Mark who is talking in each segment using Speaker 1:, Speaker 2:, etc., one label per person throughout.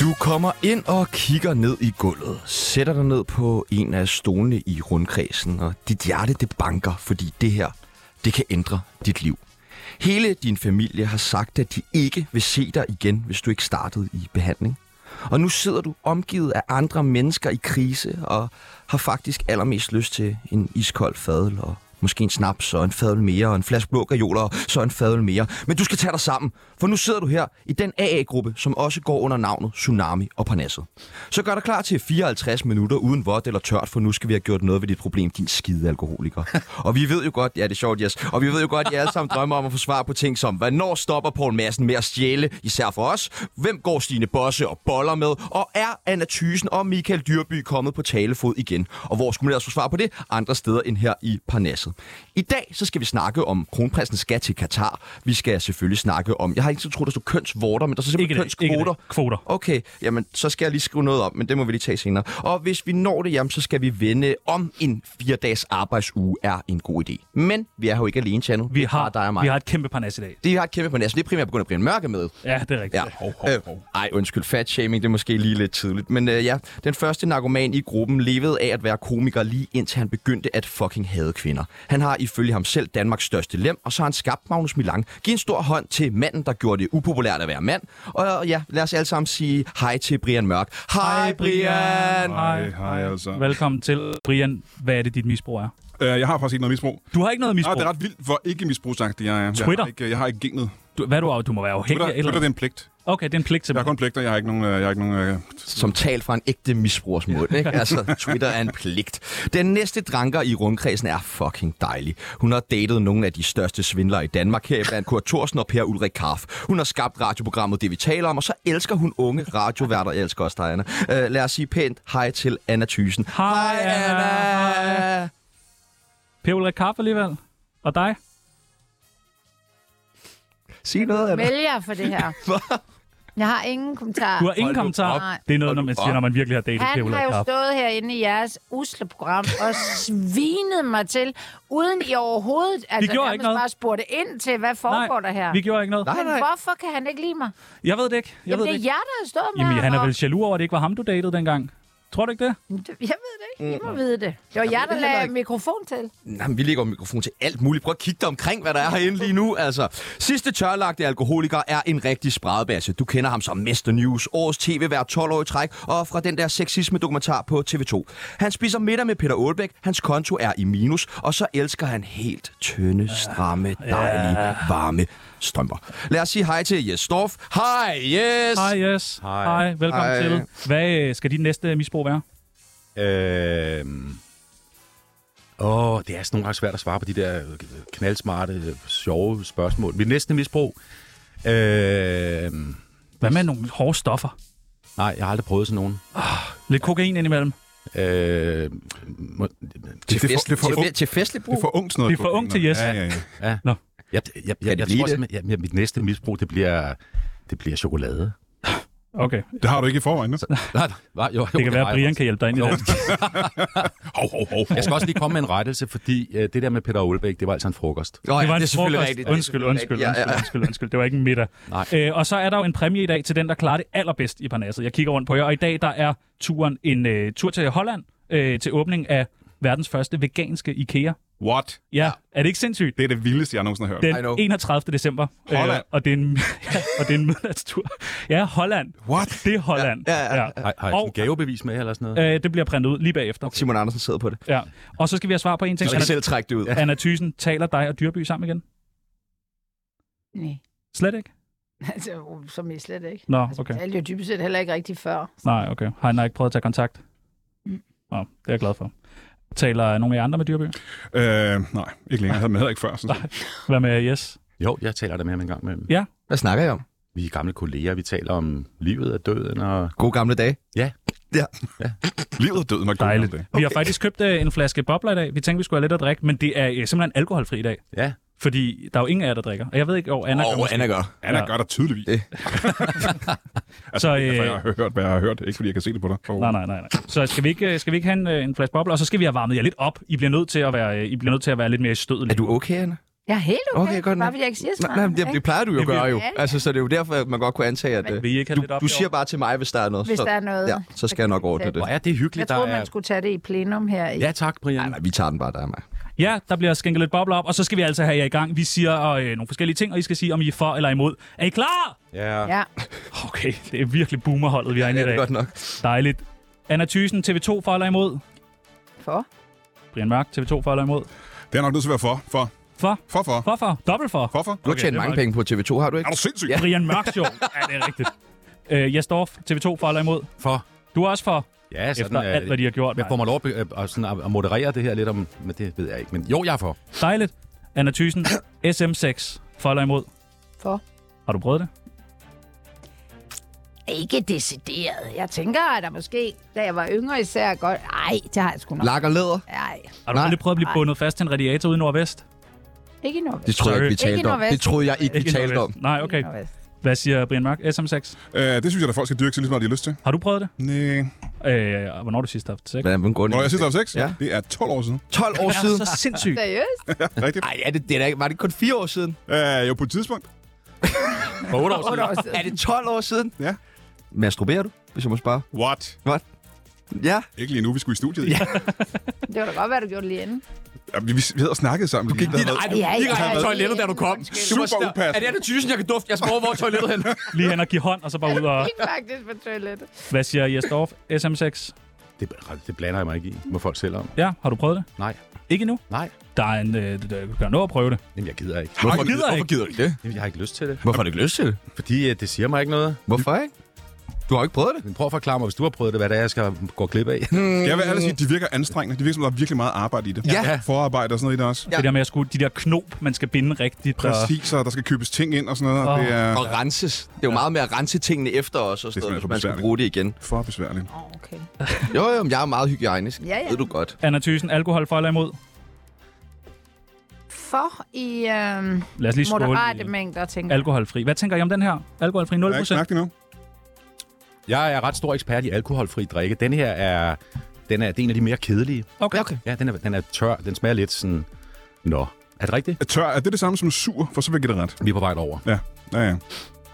Speaker 1: Du kommer ind og kigger ned i gulvet, sætter dig ned på en af stolene i rundkredsen, og dit hjerte det banker, fordi det her, det kan ændre dit liv. Hele din familie har sagt, at de ikke vil se dig igen, hvis du ikke startede i behandling. Og nu sidder du omgivet af andre mennesker i krise, og har faktisk allermest lyst til en iskold fadel og Måske en snaps og en fadøl mere og en flaske blå gajoler og så en fadøl mere. Men du skal tage dig sammen, for nu sidder du her i den AA-gruppe, som også går under navnet Tsunami og Parnasset. Så gør dig klar til 54 minutter uden vådt eller tørt, for nu skal vi have gjort noget ved dit problem, din skide alkoholiker. og vi ved jo godt, ja det er sjovt, yes, og vi ved jo godt, at I alle sammen drømmer om at få svar på ting som, hvornår stopper Poul Madsen med at stjæle, især for os? Hvem går Stine Bosse og boller med? Og er Anna Thysen og Michael Dyrby kommet på talefod igen? Og hvor skulle man ellers få svar på det? Andre steder end her i Parnasset. I dag så skal vi snakke om kronprinsen skal til Katar. Vi skal selvfølgelig snakke om, jeg har ikke så troet, der stod kønsvorter, men der står
Speaker 2: Ikke
Speaker 1: simpelthen
Speaker 2: det, ikke
Speaker 1: kønskvoter.
Speaker 2: det. Kvoter.
Speaker 1: Okay, jamen så skal jeg lige skrive noget om, men det må vi lige tage senere. Og hvis vi når det, jamen, så skal vi vende om en fire dages arbejdsuge er en god idé. Men vi er jo ikke alene, Tjerno.
Speaker 2: Vi har,
Speaker 1: dig og mig.
Speaker 2: vi har et kæmpe parnas i dag.
Speaker 1: Det har et kæmpe på næsten. Det er primært på grund af Brian Mørke med.
Speaker 2: Ja, det er rigtigt.
Speaker 1: Ja. Øh, ej, undskyld. Fat shaming, det er måske lige lidt tidligt. Men øh, ja, den første narkoman i gruppen levede af at være komiker lige indtil han begyndte at fucking hade kvinder. Han har ifølge ham selv Danmarks største lem, og så har han skabt Magnus Milang. Giv en stor hånd til manden, der gjorde det upopulært at være mand. Og øh, ja, lad os alle sammen sige hej til Brian Mørk. Hej,
Speaker 2: Hej,
Speaker 1: Brian!
Speaker 2: Brian.
Speaker 3: Hej,
Speaker 2: Hej.
Speaker 3: hej altså.
Speaker 2: Velkommen til, Brian. Hvad er det, dit misbrug er?
Speaker 3: Øh, jeg har faktisk ikke noget misbrug.
Speaker 2: Du har ikke noget
Speaker 3: Nej,
Speaker 2: misbrug.
Speaker 3: det er ret vildt, hvor ikke misbrugsagtig jeg er. Jeg
Speaker 2: Twitter?
Speaker 3: har ikke, jeg har ikke genet.
Speaker 2: du, hvad er du af? Du må være afhængig
Speaker 3: Twitter,
Speaker 2: af et eller
Speaker 3: Twitter, det
Speaker 2: andet.
Speaker 3: er en pligt.
Speaker 2: Okay, det er en pligt til
Speaker 3: Jeg har kun pligter, jeg har ikke nogen... øh, Jeg har ikke nogen øh,
Speaker 1: som talt fra en ægte misbrugers mund. Ikke? Altså, Twitter er en pligt. Den næste dranker i rundkredsen er fucking dejlig. Hun har datet nogle af de største svindlere i Danmark, heriblandt Kurt Thorsen og Per Ulrik Karf. Hun har skabt radioprogrammet Det, vi taler om, og så elsker hun unge radioværter. Jeg elsker også dig, Anna. Uh, lad os sige pænt hej til Anna Thysen.
Speaker 2: Hej, Anna.
Speaker 1: Anna.
Speaker 2: Per Ulrik Karp alligevel. Og dig?
Speaker 1: Sig noget, Anna.
Speaker 4: Vælger for det her. Jeg har ingen kommentar.
Speaker 2: Du har ingen
Speaker 1: Hold nu
Speaker 2: kommentar.
Speaker 4: op.
Speaker 2: Det er noget,
Speaker 1: Hold
Speaker 2: når
Speaker 1: nu
Speaker 2: man
Speaker 1: op.
Speaker 2: siger, når man virkelig har datet Per
Speaker 4: Han har
Speaker 2: Ulrik
Speaker 4: jo
Speaker 2: Karp.
Speaker 4: stået herinde i jeres usle program og svinet mig til, uden I overhovedet altså,
Speaker 2: gjorde
Speaker 4: nærmest
Speaker 2: ikke noget.
Speaker 4: bare spurgte ind til, hvad foregår der her?
Speaker 2: vi gjorde ikke noget.
Speaker 1: Nej.
Speaker 4: Men hvorfor kan han ikke lide mig? Jeg
Speaker 2: Jeg ved det ikke. Jeg
Speaker 4: Jamen,
Speaker 2: ved det
Speaker 4: det er
Speaker 2: ikke.
Speaker 4: jer, der har stået med
Speaker 2: Jamen,
Speaker 4: ham,
Speaker 2: han er
Speaker 4: og-
Speaker 2: vel jaloux over, at det ikke var ham, du datede dengang. Tror du ikke det?
Speaker 4: Jeg ved det ikke. I må vide det. Det var jer,
Speaker 1: Mm. det
Speaker 4: der
Speaker 1: heller
Speaker 4: lagde
Speaker 1: ikke.
Speaker 4: mikrofon til.
Speaker 1: Nå, men vi lægger jo mikrofon til alt muligt. Prøv at kigge dig omkring, hvad der er herinde lige nu. Altså, sidste tørlagte alkoholiker er en rigtig spredbasse. Du kender ham som Mr. News, årets tv hver 12 år i træk, og fra den der sexisme-dokumentar på TV2. Han spiser middag med Peter Aalbæk, hans konto er i minus, og så elsker han helt tynde, stramme, dejlige, varme strømper. Lad os sige hej til Jes Dorf. Hej, Jes!
Speaker 2: Hej, yes. Hej. Hej. Velkommen
Speaker 1: Hej.
Speaker 2: til. Hvad øh, skal dit næste misbrug være?
Speaker 5: Øhm. Åh, det er sådan nogle gange svært at svare på de der øh, knaldsmarte, øh, sjove spørgsmål. Mit næste misbrug? Øhm.
Speaker 2: Hvad med nogle hårde stoffer?
Speaker 5: Nej, jeg har aldrig prøvet sådan nogen.
Speaker 2: Lidt kokain indimellem.
Speaker 5: Øh, må,
Speaker 1: Til,
Speaker 3: Det- det er
Speaker 1: fest,
Speaker 3: for- det er for
Speaker 1: til, fe-
Speaker 3: ungt.
Speaker 1: til festlig
Speaker 3: det er
Speaker 1: brug.
Speaker 3: for ungt sådan noget.
Speaker 2: Det er for ungt til Yes.
Speaker 3: Ja, ja, ja.
Speaker 5: ja.
Speaker 2: Nå.
Speaker 5: Jeg, jeg, jeg,
Speaker 1: det
Speaker 5: jeg, jeg
Speaker 1: blive
Speaker 5: tror
Speaker 1: det?
Speaker 5: simpelthen, at mit næste misbrug, det bliver, det bliver chokolade.
Speaker 2: Okay.
Speaker 3: Det har du ikke i forvejen, ne?
Speaker 5: Nej, nej, nej, jo, jo,
Speaker 2: Det kan være,
Speaker 5: nej.
Speaker 2: at Brian kan hjælpe dig ind i
Speaker 5: Jo.
Speaker 2: det.
Speaker 5: Hov, hov, hov. Jeg skal også lige komme med en rettelse, fordi øh, det der med Peter Olbæk, det var altså en frokost.
Speaker 1: Nå, ja,
Speaker 2: Det var en
Speaker 1: er selvfølgelig
Speaker 2: frokost.
Speaker 1: rigtigt. Det er
Speaker 2: Undskyld,
Speaker 1: selvfølgelig
Speaker 2: undskyld,
Speaker 1: rigtigt. Ja, ja,
Speaker 2: undskyld,
Speaker 1: ja.
Speaker 2: undskyld, undskyld. Det var ikke en middag.
Speaker 5: Nej.
Speaker 2: Øh, og så er der jo en præmie i dag til den, der klarer det allerbedst i Parnasset. Jeg kigger rundt på jer, og i dag der er turen en øh, tur til Holland øh, til åbning af verdens første veganske IKEA.
Speaker 3: What?
Speaker 2: Ja, er det ikke sindssygt?
Speaker 3: Det er det vildeste, jeg nogensinde har hørt.
Speaker 1: I
Speaker 2: Den
Speaker 1: know.
Speaker 2: 31. december. Øh,
Speaker 3: Holland.
Speaker 2: og det er en, ja, og det er en midnatstur. Ja, Holland.
Speaker 3: What?
Speaker 2: Det er Holland.
Speaker 1: Ja, ja, ja.
Speaker 5: Har, har jeg
Speaker 2: Og-
Speaker 5: sådan en gavebevis med eller sådan noget?
Speaker 2: Øh, det bliver printet ud lige bagefter.
Speaker 1: Simon Andersen sidder på det.
Speaker 2: Ja. Og så skal vi have svar på en
Speaker 1: Du
Speaker 2: ting.
Speaker 1: skal
Speaker 2: Anna,
Speaker 1: selv trække det ud.
Speaker 2: Anna Thysen, taler dig og Dyrby sammen igen?
Speaker 4: Nej,
Speaker 2: Slet ikke?
Speaker 4: altså, som I slet ikke.
Speaker 2: Nå,
Speaker 4: Altså,
Speaker 2: okay.
Speaker 4: Det er jo dybest set heller ikke rigtigt før.
Speaker 2: Nej, okay. Har han ikke prøvet at tage kontakt?
Speaker 4: Mm.
Speaker 2: Nå, det er jeg glad for. Taler nogle af jer andre med Dyrby?
Speaker 3: Øh, nej, ikke længere. Jeg havde med heller ikke før. Sådan.
Speaker 2: Nej. Hvad med Jes?
Speaker 5: Jo, jeg taler der med ham en gang imellem.
Speaker 1: Hvad snakker jeg om?
Speaker 5: Vi er gamle kolleger, vi taler om livet og døden og...
Speaker 1: God gamle dage.
Speaker 3: Livet og døden var god.
Speaker 2: Dejligt.
Speaker 3: gamle dage.
Speaker 2: Vi har faktisk købt øh, en flaske bobler i dag. Vi tænkte, vi skulle have lidt at drikke, men det er øh, simpelthen alkoholfri i dag.
Speaker 5: Ja,
Speaker 2: Fordi der er jo ingen af jer, der drikker. Og jeg ved ikke, hvor Anna gør.
Speaker 1: Anna gør.
Speaker 3: Anna
Speaker 2: Ja.
Speaker 3: gør dig tydeligvis.
Speaker 1: Det.
Speaker 3: altså,
Speaker 2: Så,
Speaker 3: så, øh...
Speaker 2: øh,
Speaker 3: jeg har hørt, hvad jeg har hørt. Ikke fordi jeg kan se det på dig. Oh.
Speaker 2: Nej, nej, nej, nej. Så skal vi ikke, øh, skal vi ikke have en, øh, en flaske bobler, og så skal vi have varmet jer lidt op. I bliver nødt til at være, øh, I bliver nødt til at være lidt mere i stødet.
Speaker 1: Er du okay, Anna?
Speaker 4: Jeg er helt okay,
Speaker 1: Okay,
Speaker 4: okay
Speaker 1: godt nok.
Speaker 4: bare fordi jeg ikke siger så
Speaker 1: Nej,
Speaker 4: meget.
Speaker 1: nej, men det, det
Speaker 4: ikke?
Speaker 1: plejer du jo at
Speaker 2: Det vil-
Speaker 1: gøre jo.
Speaker 4: Ja, ja.
Speaker 1: Altså, så det er jo derfor, at man godt kunne antage, at
Speaker 4: Men
Speaker 1: øh,
Speaker 2: Vil I ikke have lidt
Speaker 1: du,
Speaker 2: op
Speaker 1: du
Speaker 2: i år?
Speaker 1: siger bare til mig, hvis der er noget.
Speaker 4: Hvis
Speaker 1: så,
Speaker 4: der er noget.
Speaker 1: Ja, så skal jeg nok ordne det.
Speaker 5: Hvor er det
Speaker 4: Jeg
Speaker 5: hyggeligt, der
Speaker 4: troede,
Speaker 5: er...
Speaker 4: man skulle tage det i plenum her. i-
Speaker 5: Ja tak, Brian.
Speaker 1: Nej, nej, vi tager den bare, der er mig.
Speaker 2: Ja, der bliver skænket lidt bobler op, og så skal vi altså have jer i gang. Vi siger øh, nogle forskellige ting, og I skal sige, om I er for eller imod. Er I klar?
Speaker 5: Ja.
Speaker 4: Ja.
Speaker 2: Okay, det er virkelig boomerholdet, vi har inde
Speaker 1: Ja,
Speaker 2: i
Speaker 1: det
Speaker 2: dag.
Speaker 1: er godt nok.
Speaker 2: Dejligt. Anna Thysen, TV2 for eller imod?
Speaker 4: For?
Speaker 2: Brian Mørk, TV2 for eller imod?
Speaker 3: Det er nok nødt til at være for. For.
Speaker 2: For?
Speaker 3: For, for.
Speaker 2: For for? Dobbelt for?
Speaker 3: For, for.
Speaker 1: Du har
Speaker 2: Okay,
Speaker 1: tjent
Speaker 2: det var
Speaker 1: mange
Speaker 2: ikke-
Speaker 1: penge på TV2, har du
Speaker 3: Er
Speaker 1: ikke?
Speaker 3: du sindssyg?
Speaker 1: Ja.
Speaker 2: Brian Mørk show. ja, det er rigtigt. Øh, Jastorf, TV2 for eller imod?
Speaker 5: For.
Speaker 2: Du er også for,
Speaker 5: Ja, sådan
Speaker 2: efter
Speaker 5: er
Speaker 2: alt, hvad de har gjort.
Speaker 5: Jeg får mig lov at, be- at, sådan at- at moderere det her lidt om... Men det ved jeg ikke. Men jo, jeg er for.
Speaker 2: Dejligt. Anna Thysen, SM6 for eller imod?
Speaker 4: For?
Speaker 2: Har du prøvet det?
Speaker 4: Ikke decideret. Jeg tænker, at der måske, da jeg var yngre især, godt... Ej, det har jeg sgu nok.
Speaker 1: Lak og læder?
Speaker 4: Ej,
Speaker 2: Har du
Speaker 1: Nej.
Speaker 2: aldrig prøvet at blive
Speaker 4: Nej.
Speaker 2: bundet fast til en radiator ude i Nordvest?
Speaker 4: ikke noget.
Speaker 1: Det troede jeg ikke, vi
Speaker 4: Sorry.
Speaker 1: talte
Speaker 4: Ikke
Speaker 1: om.
Speaker 4: Nordvest.
Speaker 1: Det troede jeg ikke, vi
Speaker 2: i
Speaker 1: talte om.
Speaker 2: Nordvest. Nej, okay. Hvad siger Brian Mørk? SM6.
Speaker 3: Øh, det synes jeg, at folk skal dyrke sig lige så meget, de har lyst til.
Speaker 2: Har du prøvet det?
Speaker 3: Næh.
Speaker 2: Øh, hvornår har du sidst har haft sex?
Speaker 1: Hvad er den grund?
Speaker 3: Hvornår jeg sidst har haft sex?
Speaker 1: Ja.
Speaker 3: Det er 12 år siden.
Speaker 1: 12 år siden?
Speaker 2: så sindssygt.
Speaker 4: Seriøst?
Speaker 3: Ja, rigtigt.
Speaker 1: Nej, er det, det er da ikke, var det kun 4 år siden?
Speaker 3: Øh, jo, på et tidspunkt.
Speaker 5: For 8 år
Speaker 4: Otte år siden.
Speaker 1: Er det 12 år siden?
Speaker 3: Ja.
Speaker 1: Masturberer du, hvis jeg må spørge?
Speaker 3: What?
Speaker 1: Ja.
Speaker 3: Ikke lige nu, vi skulle i studiet. Ja.
Speaker 4: Det var da godt, hvad du gjorde lige inden.
Speaker 3: Vi, vi, vi havde snakket sammen. Du
Speaker 1: Gik lige, nej, du
Speaker 4: Ja, ja,
Speaker 1: gik direkte på
Speaker 4: ja.
Speaker 1: toilettet, da du kom.
Speaker 4: Undskyld.
Speaker 1: Du var
Speaker 3: Super
Speaker 1: sådan-
Speaker 3: upassende.
Speaker 1: Er det Anna Thyssen, jeg kan dufte? Jeg skal over, hvor er toilettet hen.
Speaker 2: Lige hen og give hånd, og så bare ud og...
Speaker 4: Ikke faktisk på toilettet.
Speaker 2: Hvad siger Jesdorf? SM6?
Speaker 5: Det, det blander jeg mig ikke i, hvad folk selv om.
Speaker 2: Ja, har du prøvet det?
Speaker 5: Nej.
Speaker 2: Ikke nu.
Speaker 5: Nej.
Speaker 2: Der er en... Øh, der, der, nå at prøve det.
Speaker 5: Jamen, jeg gider ikke.
Speaker 1: Hvorfor
Speaker 2: gider
Speaker 1: gider,
Speaker 2: ikke.
Speaker 1: hvorfor gider du det?
Speaker 5: Jamen, Jeg har ikke lyst til det.
Speaker 1: Hvorfor har du ikke lyst til det?
Speaker 5: Fordi øh, det siger mig ikke noget.
Speaker 1: Hvorfor ikke? Du har ikke prøvet det.
Speaker 5: Men prøv at forklare mig, hvis du har prøvet det, hvad det er, jeg skal gå glip af.
Speaker 3: Jeg vil ærligt sige, at de virker anstrengende. De virker som, der er virkelig meget arbejde i det.
Speaker 1: Ja.
Speaker 3: Forarbejde og sådan noget i det også.
Speaker 1: Ja.
Speaker 2: Ja. Det der med at skulle... De der knop, man skal binde rigtigt. Og,
Speaker 3: Præcis, og der skal købes ting ind og sådan noget.
Speaker 2: Åh.
Speaker 3: Oh. Det er
Speaker 1: Og renses. Det er jo meget med at rense tingene efter os, og
Speaker 3: Det er
Speaker 1: sådan noget,
Speaker 3: simpelthen
Speaker 1: hvis man skal
Speaker 3: besværligt.
Speaker 1: bruge det igen.
Speaker 3: for besværligt.
Speaker 4: Åh, oh, okay.
Speaker 1: Jo, jo, men jeg er meget hygiejnisk.
Speaker 4: Ja, ja.
Speaker 1: Ved du godt.
Speaker 2: Anna Thysen, alkohol for eller imod?
Speaker 4: For i øh,
Speaker 2: Lad os lige skåle.
Speaker 4: moderate
Speaker 2: i
Speaker 4: mængder, tænker jeg.
Speaker 2: Alkoholfri. Hvad tænker I om den her? Alkoholfri 0%?
Speaker 3: Jeg har ikke smagt det endnu.
Speaker 5: Jeg er ret stor ekspert i alkoholfri drikke. Den her er, den er, det er en af de mere kedelige.
Speaker 2: Okay.
Speaker 1: Okay.
Speaker 5: Ja, den er, den er tør. Den smager lidt sådan... Nå, er det rigtigt?
Speaker 3: Er Tør, er det det samme som sur? For så vil jeg give det ret.
Speaker 5: Vi er på vej over.
Speaker 3: Ja, ja, ja.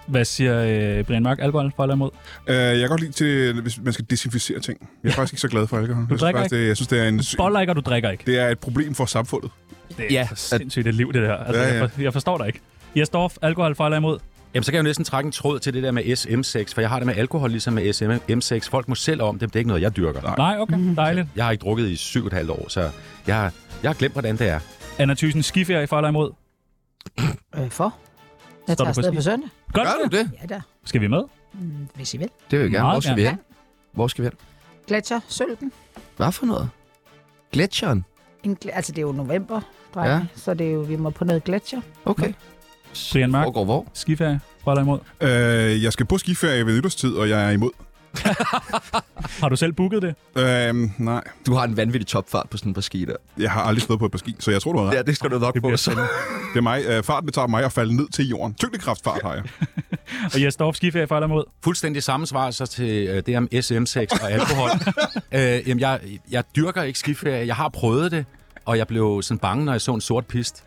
Speaker 2: Hvad siger øh, Brian Mørk? Alkohol for eller imod?
Speaker 3: Øh, jeg kan godt lide til, hvis man skal desinficere ting. Jeg er faktisk ikke så glad for alkohol. jeg, synes
Speaker 2: drikker
Speaker 3: faktisk, det, jeg synes, det er, en, sy-
Speaker 2: Boller ikke, og du drikker ikke.
Speaker 3: det er et problem for samfundet.
Speaker 2: Det er
Speaker 1: Ja,
Speaker 2: ja, sindssygt et liv, det der. Altså, ja,
Speaker 3: Ja, ja.
Speaker 2: ja. Jeg, for, jeg forstår dig ikke. Jesdorf, alkohol for eller imod?
Speaker 5: Jamen, så kan jeg jo næsten trække en tråd til det der med SM6, for jeg har det med alkohol ligesom med SM6. Folk må selv om det, det er ikke noget, jeg dyrker.
Speaker 2: Nej, okay. Dejligt.
Speaker 5: Jeg har ikke drukket i syv og et halvt år, så jeg har, jeg har glemt, hvordan det er.
Speaker 2: Anna Thysen, skiferie for eller imod?
Speaker 4: Øh, for? Jeg
Speaker 2: Står du
Speaker 4: tager
Speaker 2: på
Speaker 4: afsted
Speaker 2: ski?
Speaker 4: på søndag.
Speaker 2: Godt.
Speaker 1: Gør du det?
Speaker 4: Ja da,
Speaker 2: Skal vi med?
Speaker 4: Mm, hvis I vil.
Speaker 1: Det vil jeg gerne.
Speaker 2: Meget
Speaker 1: Hvor skal vi hen?
Speaker 4: gerne.
Speaker 1: Hvor skal vi hen?
Speaker 4: Gletscher, sølven.
Speaker 1: Hvad for noget? Gletsjeren?
Speaker 4: En gl- altså, det er jo november, drenge,
Speaker 1: Ja.
Speaker 4: ja. så det er jo, vi må på noget gletscher.
Speaker 1: Okay.
Speaker 2: Brian Mørk,
Speaker 1: Hvor går hvor?
Speaker 2: skiferie for eller imod?
Speaker 3: Øh, jeg skal på skiferie ved nytårstid, og jeg er imod.
Speaker 2: Har du selv booket det?
Speaker 3: Øh, nej,
Speaker 1: Du har en vanvittig topfart på sådan et par ski der.
Speaker 3: jeg har aldrig stået på et par ski, så jeg tror, du har ret.
Speaker 1: Ja, det skal du nok
Speaker 2: Det
Speaker 1: på.
Speaker 2: bliver
Speaker 1: Så.
Speaker 2: spændende.
Speaker 3: Det er mig. Øh, farten betager mig at falde ned til jorden. Tyngdekraftfart har jeg.
Speaker 2: Og Jesdorf, skiferie for eller imod?
Speaker 5: Fuldstændig samme svar så til øh, det om SM6 og alkohol. øh, jamen, jeg, jeg dyrker ikke skiferie. Jeg har prøvet det, og jeg blev sådan bange, når jeg så en sort pist.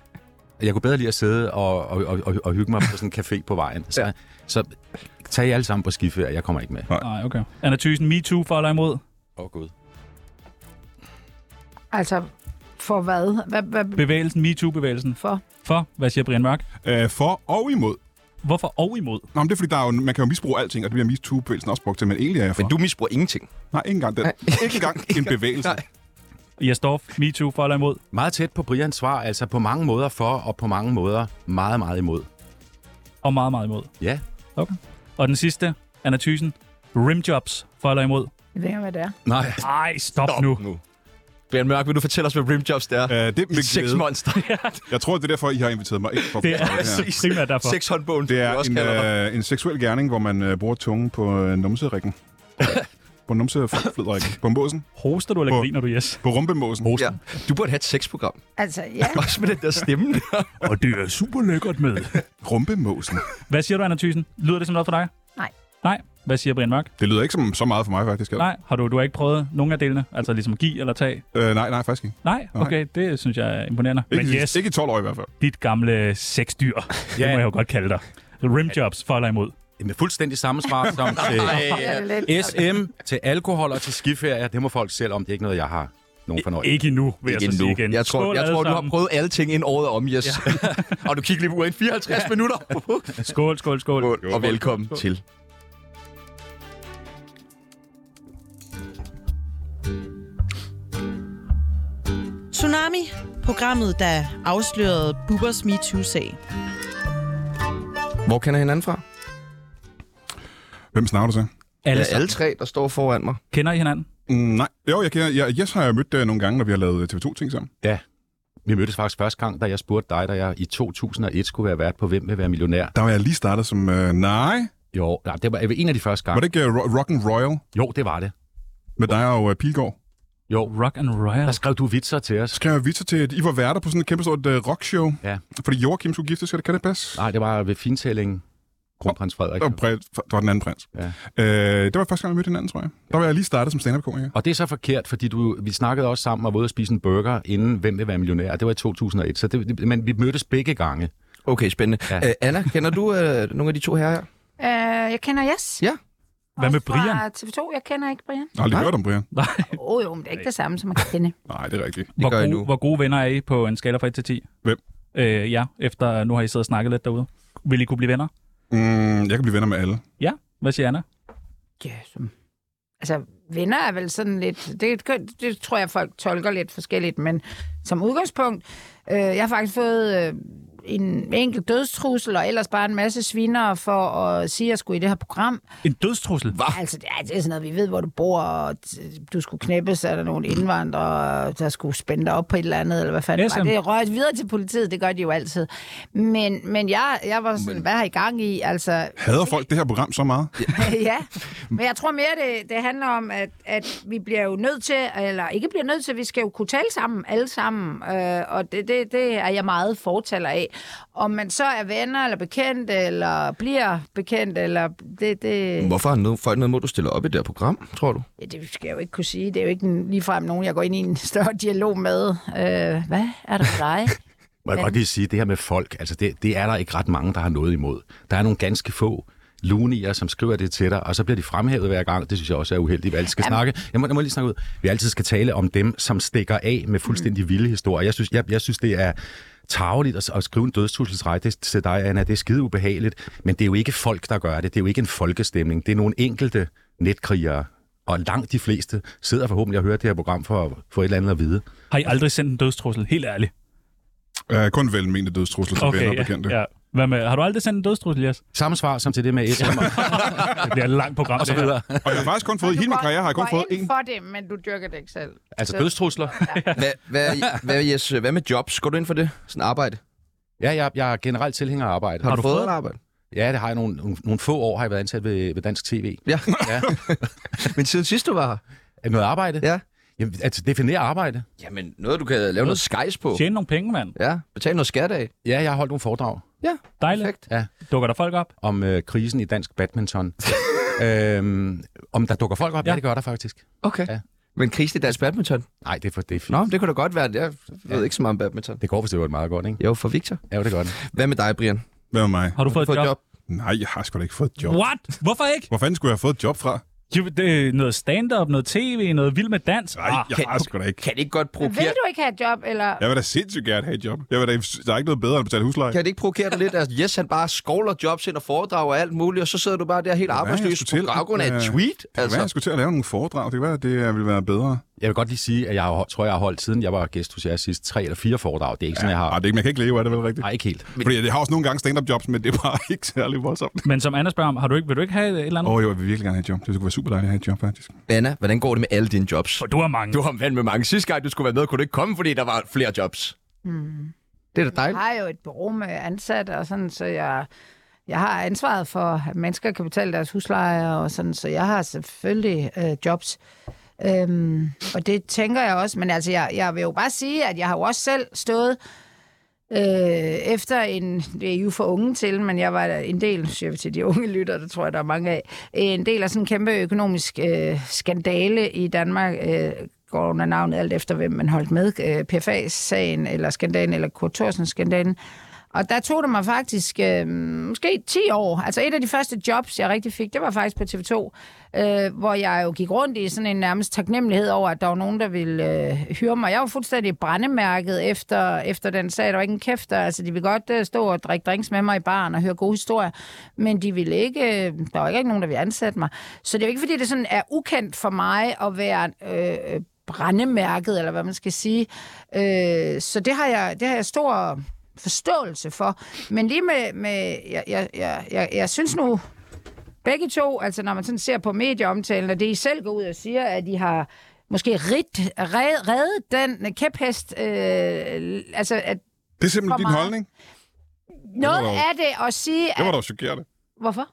Speaker 5: Jeg kunne bedre lide at sidde og, og, og, og, og hygge mig på sådan en café på vejen. Så,
Speaker 1: Ja.
Speaker 5: ja. så tag I alle sammen på skiferie. Jeg kommer ikke med.
Speaker 2: Nej, okay. Anna Thysen, MeToo for eller imod?
Speaker 5: Åh, oh, Gud.
Speaker 4: Altså, for hvad? Hvad, hvad
Speaker 2: Bevægelsen, MeToo-bevægelsen.
Speaker 4: for?
Speaker 2: For, hvad siger Brian Mørk?
Speaker 3: Øh, for og imod.
Speaker 2: Hvorfor og imod?
Speaker 3: Nå, men det er fordi, der er jo, man kan jo misbruge alting, og det bliver MeToo-bevægelsen også brugt til, men egentlig er jeg for.
Speaker 1: Men du misbruger ingenting.
Speaker 3: Nej, ikke engang den. Ikke engang en bevægelse.
Speaker 1: Nej.
Speaker 2: Jesdorf, MeToo for eller imod?
Speaker 5: Meget tæt på Brians svar, altså på mange måder for, og på mange måder meget, meget imod.
Speaker 2: Og meget, meget imod.
Speaker 5: Ja,
Speaker 2: Okay. Og den sidste, Anna Thysen, rimjobs for eller imod?
Speaker 4: Jeg ved ikke, hvad det er.
Speaker 5: nej.
Speaker 2: Ej, stop, stop. nu.
Speaker 1: nu. Brian Mørk, vil du fortælle os, hvad rimjobs det er?
Speaker 3: Øh, det er med
Speaker 1: Seks
Speaker 3: glæde.
Speaker 1: monster.
Speaker 3: Jeg tror, det er derfor, I har inviteret mig. Ikke for
Speaker 2: Det er
Speaker 3: for her.
Speaker 2: primært derfor.
Speaker 1: Seks håndbogen,
Speaker 3: Det er
Speaker 1: vi også kalder dig.
Speaker 3: en, øh, en seksuel gerning, hvor man øh, bruger tungen på øh, numserikken. på numseflidrikken. På måsen.
Speaker 2: Hoster du, eller
Speaker 3: Hvor-
Speaker 2: griner du, yes?
Speaker 3: På rumpemåsen.
Speaker 1: Ja. Du burde have et sexprogram.
Speaker 4: Altså, ja.
Speaker 1: Også med den der stemme.
Speaker 2: Og det er super lækkert med.
Speaker 3: Rumpemåsen.
Speaker 2: Hvad siger du, Anna Thysen? Lyder det som noget for dig?
Speaker 4: Nej.
Speaker 2: Nej? Hvad siger Brian Mørk?
Speaker 3: Det lyder ikke som så meget for mig, faktisk. heller.
Speaker 2: Nej, har du, du har ikke prøvet nogen af delene? Altså ligesom give eller tage?
Speaker 3: Øh, nej, nej, faktisk ikke.
Speaker 2: Nej? Okay, det synes jeg er imponerende.
Speaker 3: Ikke,
Speaker 2: Men
Speaker 3: i-
Speaker 2: yes,
Speaker 3: ikke i 12 år i hvert fald.
Speaker 2: dit gamle sexdyr, det må jeg jo godt kalde dig. Rimjobs for eller imod.
Speaker 5: Med fuldstændig samme svar som til
Speaker 4: Ja, det er lidt.
Speaker 5: SM, til alkohol og til skiferier. Det må folk selv om. Det er ikke noget, jeg har nogen fornøjelse.
Speaker 2: Ikke endnu, vil jeg
Speaker 1: Ikke
Speaker 2: så sige
Speaker 1: endnu.
Speaker 2: igen.
Speaker 1: Jeg tror,
Speaker 2: Skål
Speaker 1: jeg
Speaker 2: alle
Speaker 1: tror du har
Speaker 2: sammen.
Speaker 1: prøvet alle ting ind året om, yes. Ja. og du kigger lige på uret 54 minutter.
Speaker 2: Skål, skål, skål.
Speaker 1: Skål, og velkommen til.
Speaker 6: Tsunami, programmet, der afslørede Bubbers MeToo-sag.
Speaker 1: Hvor kender hinanden fra?
Speaker 3: Hvem snakker du så?
Speaker 2: Alle
Speaker 1: Ja,
Speaker 2: sammen.
Speaker 1: alle tre, der står foran mig.
Speaker 2: Kender I hinanden?
Speaker 3: Mm, nej. Jo, jeg, kender, jeg, Jes har jeg mødt øh, nogle gange, når vi har lavet øh, TV2-ting sammen.
Speaker 5: Vi mødtes faktisk første gang, da jeg spurgte dig, da jeg i 2001 skulle være vært på Hvem vil være millionær?
Speaker 3: Der var jeg lige startet som... Øh, nej.
Speaker 5: Jo, nej, det var en af de første
Speaker 3: Var
Speaker 5: gange.
Speaker 3: det ikke øh, Ro- Rock and Royal
Speaker 5: Jo, det var det.
Speaker 3: med dig og øh, Pilgaard?
Speaker 5: Jo,
Speaker 2: Rock and
Speaker 5: der
Speaker 2: Royal.
Speaker 5: skrev du vitser til os.
Speaker 3: Skrev jeg vitser til, at I var værter på sådan et kæmpestort øh, rockshow?
Speaker 5: Ja.
Speaker 3: Fordi Joachim skulle gifte sig, kan det passe?
Speaker 5: Nej, det var ved fintællingen. Kronprins Frederik.
Speaker 3: Og prins, det var den anden prins.
Speaker 5: Ja.
Speaker 3: Øh, det var første gang, jeg mødte hinanden, tror jeg. Der var jeg lige startet som stand-up-komiker.
Speaker 5: Og det er så forkert, fordi du, vi snakkede også sammen og var ude at spise en burger, inden Hvem vil være millionær? Det var i 2001, så det, det- men vi mødtes begge gange.
Speaker 1: Okay, spændende.
Speaker 5: Ja.
Speaker 1: Ja. Øh, Anna, kender du øh, nogle af de to herrer her?
Speaker 4: Øh, jeg kender Jes.
Speaker 1: Ja.
Speaker 2: Hvad med
Speaker 4: Også fra TV2. Jeg kender ikke Brian.
Speaker 3: Jeg har aldrig
Speaker 1: Nej.
Speaker 3: hørt om Brian.
Speaker 2: Nej.
Speaker 4: Åh oh, jo, men det er ikke det samme som at kende.
Speaker 3: Nej, det er rigtigt.
Speaker 1: Det
Speaker 2: Hvor,
Speaker 1: gør jeg
Speaker 2: gode,
Speaker 1: nu.
Speaker 2: hvor gode venner er I på en skala fra 1 til 10?
Speaker 3: Hvem?
Speaker 2: Øh, ja, efter nu har I siddet og snakket lidt derude. Vil I kunne blive venner?
Speaker 3: Mm, jeg kan blive venner med alle.
Speaker 2: Ja, hvad siger Anna?
Speaker 4: Ja, som... Altså, venner er vel sådan lidt... Det, det tror jeg, folk tolker lidt forskelligt, men som udgangspunkt... Øh, jeg har faktisk fået øh, en enkelt dødstrussel, og ellers bare en masse sviner for at sige, at jeg skulle i det her program.
Speaker 2: En dødstrussel? Hva?
Speaker 4: Altså, det er, det er sådan noget, vi ved, hvor du bor, og t- du skulle knæppes, er der nogle indvandrere, der skulle spænde dig op på et eller andet, eller hvad fanden
Speaker 2: SM.
Speaker 4: var det? Det røg videre til politiet, det gør de jo altid. Men, men jeg, jeg var sådan, hvad har I gang i? Altså,
Speaker 3: Hader folk det her program så meget?
Speaker 4: ja, men jeg tror mere, det, det handler om, at, at vi bliver jo nødt til, eller ikke bliver nødt til, vi skal jo kunne tale sammen, alle sammen, øh, og det, det, det er jeg meget fortaler af. Om man så er venner, eller bekendt, eller bliver bekendt, eller det... det
Speaker 1: Hvorfor har no- folk noget mod, du stiller op i det her program, tror du?
Speaker 4: Ja, det skal jeg jo ikke kunne sige. Det er jo ikke en- ligefrem nogen, jeg går ind i en større dialog med. Øh, hvad er der for dig?
Speaker 5: Må jeg godt lige sige, det her med folk, altså det, det er der ikke ret mange, der har noget imod. Der er nogle ganske få lunier, som skriver det til dig, og så bliver de fremhævet hver gang. Det synes jeg også er uheldigt, vi altid skal snakke. Jeg må, jeg må lige snakke ud. Vi altid skal tale om dem, som stikker af med fuldstændig vilde historier. Jeg synes, jeg, jeg synes det er tageligt at, at skrive en dødstusselsrej det, til dig, Anna. Det er skide ubehageligt, men det er jo ikke folk, der gør det. Det er jo ikke en folkestemning. Det er nogle enkelte netkrigere, og langt de fleste sidder forhåbentlig og hører det her program for at få et eller andet at vide.
Speaker 2: Har I aldrig sendt en dødstrussel? Helt ærligt.
Speaker 3: Øh, kun velmente dødstrusler til venner og bekendte.
Speaker 2: ja, ja. Hvad med, har du aldrig sendt en dødstrussel, Jes?
Speaker 5: Samme svar som til det med SM og,
Speaker 2: Det bliver et langt program,
Speaker 5: og så
Speaker 2: det her.
Speaker 5: videre.
Speaker 3: Og jeg har faktisk kun fået, i hele min karriere har jeg kun fået en.
Speaker 4: for det, men du dyrker det ikke selv.
Speaker 5: Altså dødstrusler?
Speaker 1: Hvad, hvad, hvad, yes, hvad med jobs? Går du ind for det? Sådan arbejde?
Speaker 5: Ja, jeg, jeg er generelt tilhænger af arbejde.
Speaker 1: Har, har du,
Speaker 2: du
Speaker 1: fået
Speaker 2: fået
Speaker 1: et arbejde?
Speaker 5: Ja, det har jeg nogle, nogle, nogle få år, har jeg været ansat ved, ved Dansk TV.
Speaker 1: Ja.
Speaker 5: Ja.
Speaker 1: Men siden sidst du var her?
Speaker 5: Er Noget arbejde?
Speaker 1: Ja.
Speaker 5: Jamen, altså, definere arbejde.
Speaker 1: Jamen, noget du kan lave noget skejs på.
Speaker 2: Tjene nogle penge, mand.
Speaker 1: Ja, betale noget skat af.
Speaker 5: Ja, jeg har holdt nogle foredrag
Speaker 2: Dejligt.
Speaker 1: Perfekt.
Speaker 2: Dukker der folk op?
Speaker 5: om øh, krisen i dansk badminton. øhm, om der dukker folk op? Ja,
Speaker 2: Ja.
Speaker 5: det gør der faktisk.
Speaker 1: Okay.
Speaker 5: Ja.
Speaker 1: Men Chris, det er dansk badminton.
Speaker 5: Nej, det er for det er fint.
Speaker 1: Nå, men det kunne da godt være. Jeg ved ikke så meget om badminton.
Speaker 5: Det går for det meget godt, ikke?
Speaker 1: Jo, for Victor.
Speaker 5: Ja, det gør det.
Speaker 1: Hvad med dig, Brian?
Speaker 3: Hvad med mig?
Speaker 2: Har du fået et job?
Speaker 3: Nej, jeg har sgu da ikke fået et job.
Speaker 2: What? Hvorfor ikke?
Speaker 3: Hvor fanden skulle jeg have fået et job fra?
Speaker 2: Jo, det er noget stand-up, noget tv, noget vild med dans. Ah,
Speaker 3: Nej, jeg
Speaker 1: Ah, kan-
Speaker 3: har sgu da ikke.
Speaker 1: Kan det ikke godt
Speaker 4: Vil
Speaker 1: provokere,
Speaker 4: du ikke have et job, eller...
Speaker 3: Jeg vil da sindssygt gerne have et job. Jeg vil da, der er ikke noget bedre end at betale husleje.
Speaker 1: kan det ikke provokere dig lidt? Altså, yes, han bare skovler jobs ind og foredrag og alt muligt, og så sidder du bare der helt arbejdsløs
Speaker 3: skulle
Speaker 1: på
Speaker 3: til?
Speaker 1: baggrund af et
Speaker 3: Øh,
Speaker 1: tweet.
Speaker 3: Det kan være, jeg
Speaker 1: Altså,
Speaker 3: skulle til at lave nogle foredrag. Det kan være, at det øh, ville være bedre.
Speaker 5: Jeg vil godt lige sige, at jeg har, tror, jeg har holdt siden jeg var gæst hos jer sidst tre eller fire foredrag. Det er ikke sådan, jeg
Speaker 3: Nej,
Speaker 5: har...
Speaker 3: Ah, det er ikke, man kan ikke leve af det, vel rigtigt?
Speaker 5: Nej, ikke helt.
Speaker 3: Fordi jeg har også nogle gange stand-up jobs, men det er bare ikke særlig voldsomt.
Speaker 2: Men som Anna spørger om, har du ikke, vil du ikke have et
Speaker 1: Mm.
Speaker 2: eller
Speaker 3: Åh
Speaker 2: andet?
Speaker 3: oh, jo, jeg vil virkelig gerne have et job. Det kunne være super dejligt at have et job, faktisk.
Speaker 1: Anna, hvordan går det med alle dine jobs?
Speaker 2: For du har mange.
Speaker 1: Du har vandt med mange. Sidste gang, du skulle være med, kunne du ikke komme, fordi der var flere jobs.
Speaker 4: Hmm.
Speaker 1: Det er da
Speaker 4: Jeg
Speaker 1: dejligt.
Speaker 4: har jo et bureau med ansatte, og sådan, så jeg, jeg har ansvaret for, at mennesker kan betale deres husleje, og sådan, så jeg har selvfølgelig øh, jobs. Øhm, og det tænker jeg også, men altså, jeg, jeg vil jo bare sige, at jeg har jo også selv stået Øh, efter en, det er I jo for unge til, men jeg var en del, siger vi til de unge lytter, der tror jeg, der er mange af, en del af sådan en kæmpe økonomisk øh, skandale i Danmark, øh, går under navnet alt efter, hvem man holdt med, øh, PFA-sagen, eller skandalen, eller Kurt Thorsen-skandalen. Og der tog det mig faktisk øh, måske 10 år. Altså et af de første jobs, jeg rigtig fik, det var faktisk på TV2, øh, hvor jeg jo gik rundt i sådan en nærmest taknemmelighed over, at der var nogen, der ville øh, hyre mig. Jeg var fuldstændig brændemærket efter, efter den sag. Der var ikke en kæft, der, altså de ville godt øh, stå og drikke drinks med mig i baren og høre gode historier, men de ville ikke, øh, der var ikke nogen, der ville ansætte mig. Så det er jo ikke, fordi det sådan er ukendt for mig at være... Øh, brændemærket, eller hvad man skal sige. Øh, så det har, jeg, det har jeg stor forståelse for. Men lige med, med jeg, jeg, jeg, jeg, jeg synes nu, begge to, altså når man sådan ser på medieomtalen, og det I selv går ud og siger, at I har måske rigt, red, reddet den kæphest, øh, altså at
Speaker 3: Det er simpelthen
Speaker 4: For
Speaker 3: din
Speaker 4: meget.
Speaker 3: holdning.
Speaker 4: noget
Speaker 3: dog-
Speaker 4: af det at sige,
Speaker 3: Det var
Speaker 4: at...
Speaker 3: dog chokerende.
Speaker 4: Hvorfor?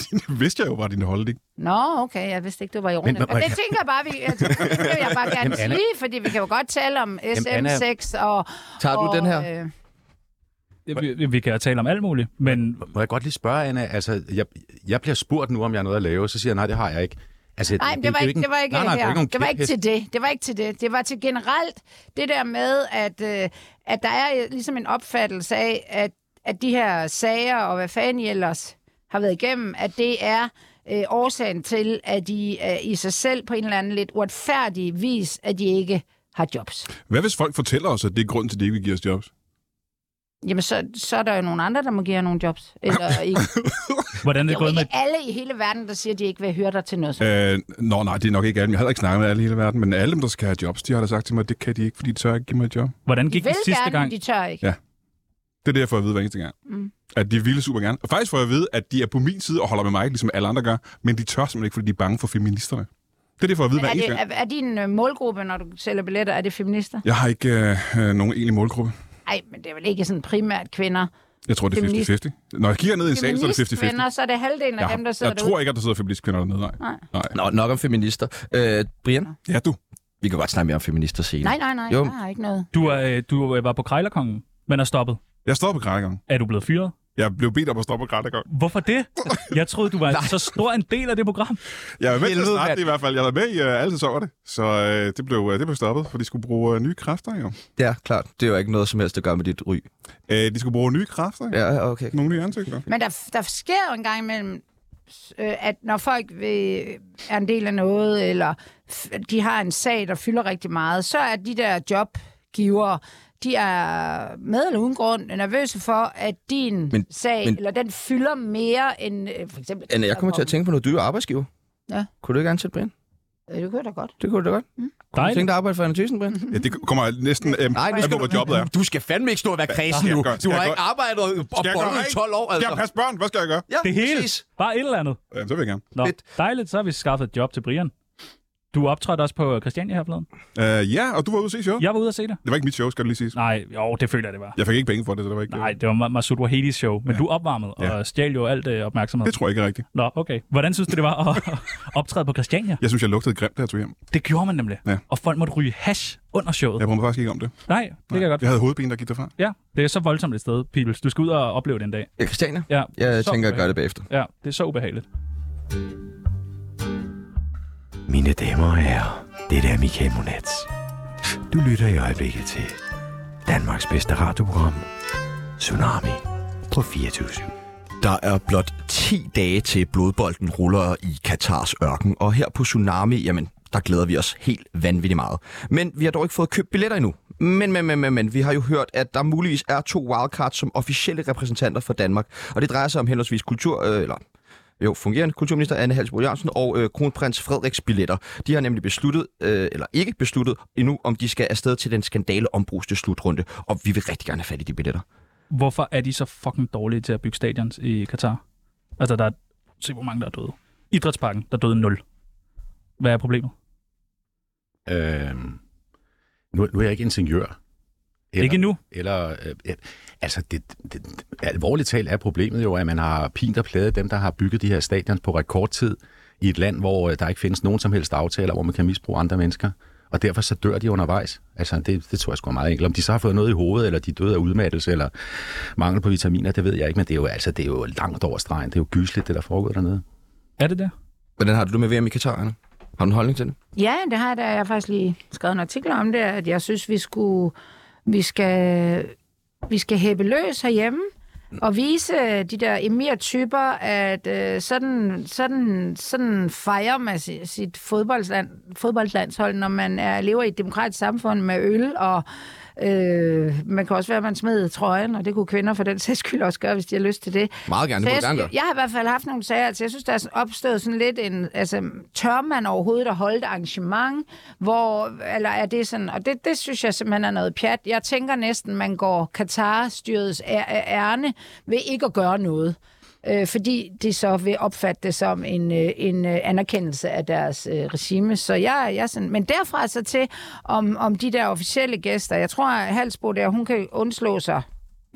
Speaker 3: det vidste jeg jo var din holdning.
Speaker 4: Nå, okay, jeg vidste ikke, du var i rundt.
Speaker 5: Men-
Speaker 4: Det
Speaker 5: men-
Speaker 4: tænker jeg bare, vi, jeg, det vil jeg bare gerne
Speaker 5: Jamen, Anna-
Speaker 4: sige, fordi vi kan jo godt tale om
Speaker 5: Anna-
Speaker 4: SM6 og...
Speaker 1: Tager du
Speaker 4: og,
Speaker 1: den her?
Speaker 4: Øh,
Speaker 2: Vi, vi kan tale om alt muligt, men
Speaker 5: Må jeg godt lige spørge, Anna? Altså, jeg, jeg bliver spurgt nu, om jeg har noget at lave, så siger jeg, nej, det har jeg ikke. Altså,
Speaker 4: Nej, men det var
Speaker 5: er jo
Speaker 4: ikke, det var ikke,
Speaker 5: nej, nej,
Speaker 4: her.
Speaker 5: Det var ikke,
Speaker 4: det var ikke til det. Det var ikke til det. Det var til generelt det der med, at, øh, at der er øh, ligesom en opfattelse af, at, at de her sager og hvad fanden I ellers har været igennem, at det er øh, årsagen til, at de øh, i sig selv på en eller anden lidt uretfærdig vis, at de ikke har jobs.
Speaker 3: Hvad hvis folk fortæller os, at det er grunden til, at de ikke vil give os jobs?
Speaker 4: Jamen, så, så er der jo nogle andre, der må give jer nogle jobs. Eller ikke.
Speaker 2: hvordan er
Speaker 4: Det
Speaker 2: det
Speaker 4: er jo
Speaker 2: gået med...
Speaker 4: ikke alle i hele verden, der siger, at de ikke vil høre dig til noget. som-
Speaker 3: Øh, nå, nej, det er nok ikke alle. Jeg har heller ikke snakket med alle i hele verden, men alle dem, der skal have jobs, de har da sagt til mig, at det kan de ikke, fordi de tør ikke give mig et job.
Speaker 2: Hvordan
Speaker 4: De
Speaker 2: gik
Speaker 4: vil
Speaker 2: det sidste
Speaker 4: gerne,
Speaker 2: gang?
Speaker 4: men de tør ikke.
Speaker 3: Det er det, jeg får at vide hver eneste gang.
Speaker 4: Mm.
Speaker 3: Mm. At de ville super gerne. Og faktisk får jeg at vide, at de er på min side og holder med mig, ligesom alle andre gør, men de tør simpelthen ikke, fordi de er bange for feministerne. Det er det, jeg får at vide hver
Speaker 4: Er,
Speaker 3: eneste
Speaker 4: det,
Speaker 3: gang.
Speaker 4: er, er din øh, målgruppe, når du sælger billetter, er det feminister?
Speaker 3: Jeg har ikke øh, øh, nogen egentlig målgruppe.
Speaker 4: Nej, men det er vel ikke sådan primært kvinder.
Speaker 3: Jeg tror, det
Speaker 4: Feminist-
Speaker 3: er 50-50. Når jeg kigger ned i en sal, så er det 50-50.
Speaker 4: Feministkvinder, så er det halvdelen af
Speaker 3: Jeg, har,
Speaker 4: dem, der sidder
Speaker 3: jeg tror
Speaker 4: derude.
Speaker 3: ikke, at der sidder feministkvinder dernede. Nej.
Speaker 4: Nej.
Speaker 3: nej.
Speaker 1: Nå, nok om feminister. Øh, Brian,
Speaker 3: Ja, du.
Speaker 1: vi kan godt snakke mere om feminister senere.
Speaker 4: Nej, nej, nej,
Speaker 1: Jo.
Speaker 4: jo. jeg har ikke noget.
Speaker 2: Du, er, øh, du øh, var på Krejlerkongen, men er stoppet.
Speaker 3: Jeg står på grædegang.
Speaker 2: Er du blevet fyret?
Speaker 3: Jeg blev bedt om at stoppe grædegang.
Speaker 2: Hvorfor det? Jeg troede, du var så stor en del af det program.
Speaker 3: Jeg er med til at
Speaker 1: Helvede,
Speaker 3: starte
Speaker 1: mand.
Speaker 3: det i hvert fald. Jeg var med i øh, alle sæsonerne, så øh, det, blev, øh, det blev stoppet, for de skulle bruge øh, nye kræfter jo.
Speaker 1: Ja, klart. Det er jo ikke noget som helst at gøre med dit ry.
Speaker 3: Øh, de skulle bruge nye kræfter, ja.
Speaker 1: Ja, okay.
Speaker 3: nogle nye ansigter.
Speaker 4: Men der, der sker jo en gang imellem, øh, at når folk vil, er en del af noget, eller f- de har en sag, der fylder rigtig meget, så er de der jobgivere, de er med eller uden grund nervøse for, at din
Speaker 1: Men-
Speaker 4: men, sag,
Speaker 1: men-
Speaker 4: men, eller den fylder mere end øh, for eksempel...
Speaker 1: Anna, jeg kommer til at tænke på noget dyre arbejdsgiver.
Speaker 4: Ja.
Speaker 1: Kunne du ikke ansætte Brian?
Speaker 4: Øh, Det kunne jeg da godt.
Speaker 1: Det kunne du da godt. Kunne du
Speaker 2: Dejligt.
Speaker 1: tænke dig at arbejde for Anna Thyssen, Brian?
Speaker 3: Ja, det kommer næsten øh,
Speaker 1: Nej, nu
Speaker 3: an på,
Speaker 1: skal
Speaker 3: hvor
Speaker 1: du...
Speaker 3: jobbet er.
Speaker 1: Du skal fandme ikke stå og være kredsen
Speaker 3: Skal jeg
Speaker 1: nu.
Speaker 3: gøre-
Speaker 1: Du
Speaker 3: skal
Speaker 1: har
Speaker 3: jeg
Speaker 1: ikke arbejdet og og
Speaker 3: Skal jeg
Speaker 1: bollet i
Speaker 3: gøre rent?
Speaker 1: 12 år,
Speaker 3: Skal jeg
Speaker 1: altså.
Speaker 3: passe børn? Hvad skal jeg gøre?
Speaker 1: Ja,
Speaker 2: Det hele.
Speaker 1: præcis.
Speaker 2: Bare et eller andet.
Speaker 3: Ja, så vil jeg gerne.
Speaker 2: Nå,
Speaker 1: Fedt.
Speaker 2: dejligt, så har vi skaffet et job til Brian. Du optrådte også på Christiania her forleden.
Speaker 3: Øh, ja, og du var ude at se showet?
Speaker 2: Jeg var ude at se det.
Speaker 3: Det var ikke mit show, skal du lige sige.
Speaker 2: Nej, jo, det føler jeg, det var.
Speaker 3: Jeg fik ikke penge for det, så det var ikke...
Speaker 2: Nej, det var Ma- Masoud Wahedis show, men ja. du opvarmede
Speaker 3: Ja.
Speaker 2: og stjal jo alt øh, opmærksomhed.
Speaker 3: Det tror jeg ikke er rigtigt.
Speaker 2: Nå, okay. Hvordan synes du, det var at optræde på Christiania?
Speaker 3: Jeg synes, jeg lugtede grimt, da jeg tog hjem.
Speaker 2: Det gjorde man nemlig.
Speaker 3: Ja.
Speaker 2: Og folk måtte ryge hash under showet.
Speaker 3: Jeg brød mig faktisk ikke om det.
Speaker 2: Nej, det kan jeg godt.
Speaker 3: Jeg havde hovedben, der gik derfra.
Speaker 2: Ja, det er så voldsomt et sted, Pibels. Du skal ud og opleve det en dag.
Speaker 1: Ja, Christiania.
Speaker 2: Ja,
Speaker 1: Jeg
Speaker 2: så
Speaker 1: tænker, jeg gør det
Speaker 2: ubehageligt.
Speaker 1: bagefter.
Speaker 2: Ja, det er så ubehageligt.
Speaker 7: Mine damer og herrer, det er Michael Monats. Du lytter i øjeblikket til Danmarks bedste radioprogram, Tsunami på 24
Speaker 1: Der er blot 10 dage til blodbolden ruller i Katars ørken, og her på Tsunami, jamen, der glæder vi os helt vanvittigt meget. Men vi har dog ikke fået købt billetter endnu. Men, men, men, men, men, vi har jo hørt, at der muligvis er to wildcards som officielle repræsentanter for Danmark, og det drejer sig om henholdsvis kultur, øh, eller jo, fungerende kulturminister Anne Halsbro Jørgensen og øh, kronprins Frederiks billetter. De har nemlig besluttet, øh, eller ikke besluttet endnu, om de skal afsted til den skandale ombruste slutrunde, og vi vil rigtig gerne have fat i de billetter.
Speaker 2: Hvorfor er de så fucking dårlige til at bygge stadions i Katar? Altså, der er... Se, hvor mange der er døde. Idrætsparken, der døde 0. Hvad er problemet?
Speaker 5: det. Øhm, nu, nu er jeg ikke ingeniør. Eller,
Speaker 2: Ikke nu.
Speaker 5: Eller, øh, øh, altså, det, det, alvorligt talt er problemet jo, at man har pint og pladet dem, der har bygget de her stadions på rekordtid i et land, hvor øh, der ikke findes nogen som helst aftaler, hvor man kan misbruge andre mennesker. Og derfor så dør de undervejs. Altså, det, det tror jeg sgu er meget enkelt. Om de så har fået noget i hovedet, eller de er døde af udmattelse, eller mangel på vitaminer, det ved jeg ikke, men det er jo, altså, det er jo langt over stregen. Det er jo gysligt, det der foregår dernede.
Speaker 2: Er det der?
Speaker 1: Hvordan har du det med VM i Katar, Anna? Har du en holdning til det?
Speaker 4: Ja, det har jeg da. Jeg har faktisk lige skrevet en artikel om det, at jeg synes, vi, skulle, vi skal, vi skal hæppe løs herhjemme og vise øh, de der emir-typer, at øh, sådan, sådan, sådan fejrer man si- sit fodboldland, fodboldlandshold, når man er, lever i et demokratisk samfund med øl, og øh, man kan også være, at man smed trøjen, og det kunne kvinder for den sags skyld også gøre, hvis de har lyst til det.
Speaker 1: Meget gerne, det må
Speaker 4: Så
Speaker 1: jeg gerne
Speaker 4: jeg,
Speaker 1: gøre.
Speaker 4: jeg har i hvert fald haft nogle sager, altså jeg synes, der er sådan opstået sådan lidt en, altså tør man overhovedet at holde et arrangement, hvor, eller er det sådan, og det, det synes jeg simpelthen er noget pjat. Jeg tænker næsten, man går Katar-styrets æ- æ- ærne ved ikke at gøre noget. Øh, fordi de så vil opfatte det som en, øh, en øh, anerkendelse af deres øh, regime. Så jeg, jeg er sådan, men derfra så til, om, om de der officielle gæster, jeg tror, at Halsbo der, hun kan undslå sig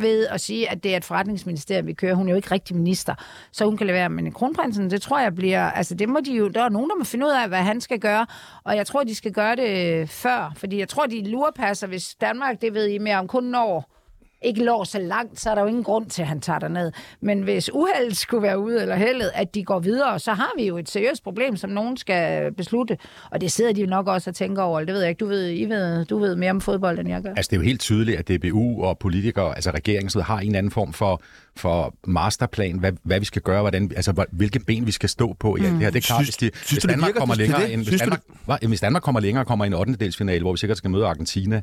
Speaker 4: ved at sige, at det er et forretningsministerium, vi kører. Hun er jo ikke rigtig minister, så hun kan lade være. Men kronprinsen, det tror jeg bliver... Altså, det må de jo... Der er nogen, der må finde ud af, hvad han skal gøre. Og jeg tror, de skal gøre det før. Fordi jeg tror, de lurepasser, hvis Danmark, det ved I mere om, kun når ikke lår så langt, så er der jo ingen grund til, at han tager derned. Men hvis uheldet skulle være ude, eller heldet, at de går videre, så har vi jo et seriøst problem, som nogen skal beslutte. Og det sidder de jo nok også og tænker over. Det ved jeg ikke. Du ved, I ved, du ved mere om fodbold, end jeg gør.
Speaker 5: Altså, det er jo helt tydeligt, at DBU og politikere, altså regeringen, sådan, noget, har en eller anden form for, for masterplan, hvad, hvad vi skal gøre, hvordan, altså, hvor- hvilke ben vi skal stå på. Ja, det,
Speaker 4: Mm.
Speaker 5: her, det er klart,
Speaker 1: Synes-
Speaker 5: hvis, de,
Speaker 1: synes
Speaker 5: hvis,
Speaker 1: du, det
Speaker 5: Danmark
Speaker 1: virker
Speaker 5: kommer
Speaker 1: til- til
Speaker 5: længere
Speaker 1: det?
Speaker 5: end, hvis,
Speaker 1: Synes du,
Speaker 5: Danmark, hva? Jamen, hvis Danmark kommer længere og kommer i en 8. delsfinale, hvor vi sikkert skal møde Argentina,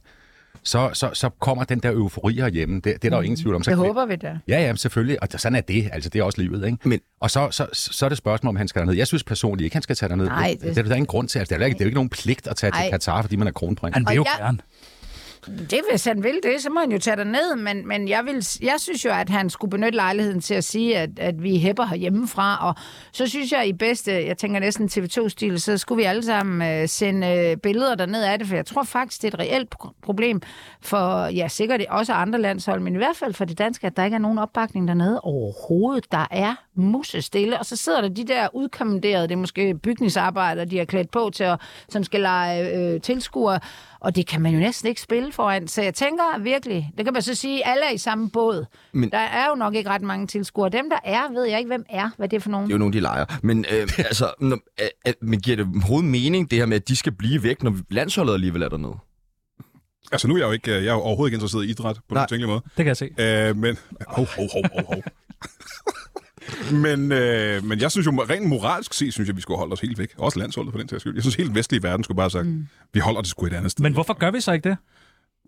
Speaker 5: så, så, så kommer den der eufori herhjemme. Det, det er der jo ingen tvivl om. Så
Speaker 4: Det
Speaker 5: kan vi-
Speaker 4: Mm. håber vi da.
Speaker 5: Ja, ja, selvfølgelig. Og sådan er det. Altså, det er også livet, ikke?
Speaker 1: Men-
Speaker 5: Og så, så, så er det spørgsmål, om han skal derned. Jeg synes personligt ikke, han skal tage derned.
Speaker 4: Nej,
Speaker 5: det...
Speaker 4: det-
Speaker 5: Det, er der ingen grund til. Altså, det, er jo ikke, det er jo ikke nogen pligt at tage til
Speaker 4: Nej.
Speaker 5: Katar, fordi man er kronprins.
Speaker 2: Han vil
Speaker 4: Og
Speaker 2: jo
Speaker 4: jeg-
Speaker 2: gerne.
Speaker 4: Det, hvis han vil det, så må han jo tage dig ned, men, men jeg, vil, jeg synes jo, at han skulle benytte lejligheden til at sige, at, at vi hæpper herhjemmefra, og så synes jeg i bedste, jeg tænker næsten TV2-stil, så skulle vi alle sammen øh, sende øh, billeder derned af det, for jeg tror faktisk, det er et reelt pro- problem for, ja, sikkert også andre landshold, men i hvert fald for det danske, at der ikke er nogen opbakning dernede overhovedet. Der er musestille, og så sidder der de der udkommanderede, det er måske bygningsarbejdere, de har klædt på til, at, som skal lege øh, tilskuere, og det kan man jo næsten ikke spille foran. Så jeg tænker virkelig, det kan man så sige, alle er i samme båd. Men... Der er jo nok ikke ret mange tilskuere. Dem, der er, ved jeg ikke, hvem er, hvad det er for nogen.
Speaker 1: Det er jo nogle, de leger. Men, øh, altså, når, øh, øh, men giver det overhovedet mening, det her med, at de skal blive væk, når landsholdet alligevel er dernede?
Speaker 3: Altså, nu er jeg jo ikke, øh, jeg er jo overhovedet ikke interesseret i idræt,
Speaker 1: Nej.
Speaker 3: på nogen tænkelig måde.
Speaker 2: Det kan jeg se.
Speaker 3: Øh, men... Hov, hov, hov, hov, hov. men, øh, men jeg synes jo, rent moralsk set, synes jeg, vi skulle holde os helt væk. Også landsholdet for den sags skyld. Jeg synes, helt vestlige verden skulle bare have sagt, mm. vi holder det sgu et andet sted.
Speaker 2: Men hvorfor gør vi så ikke det?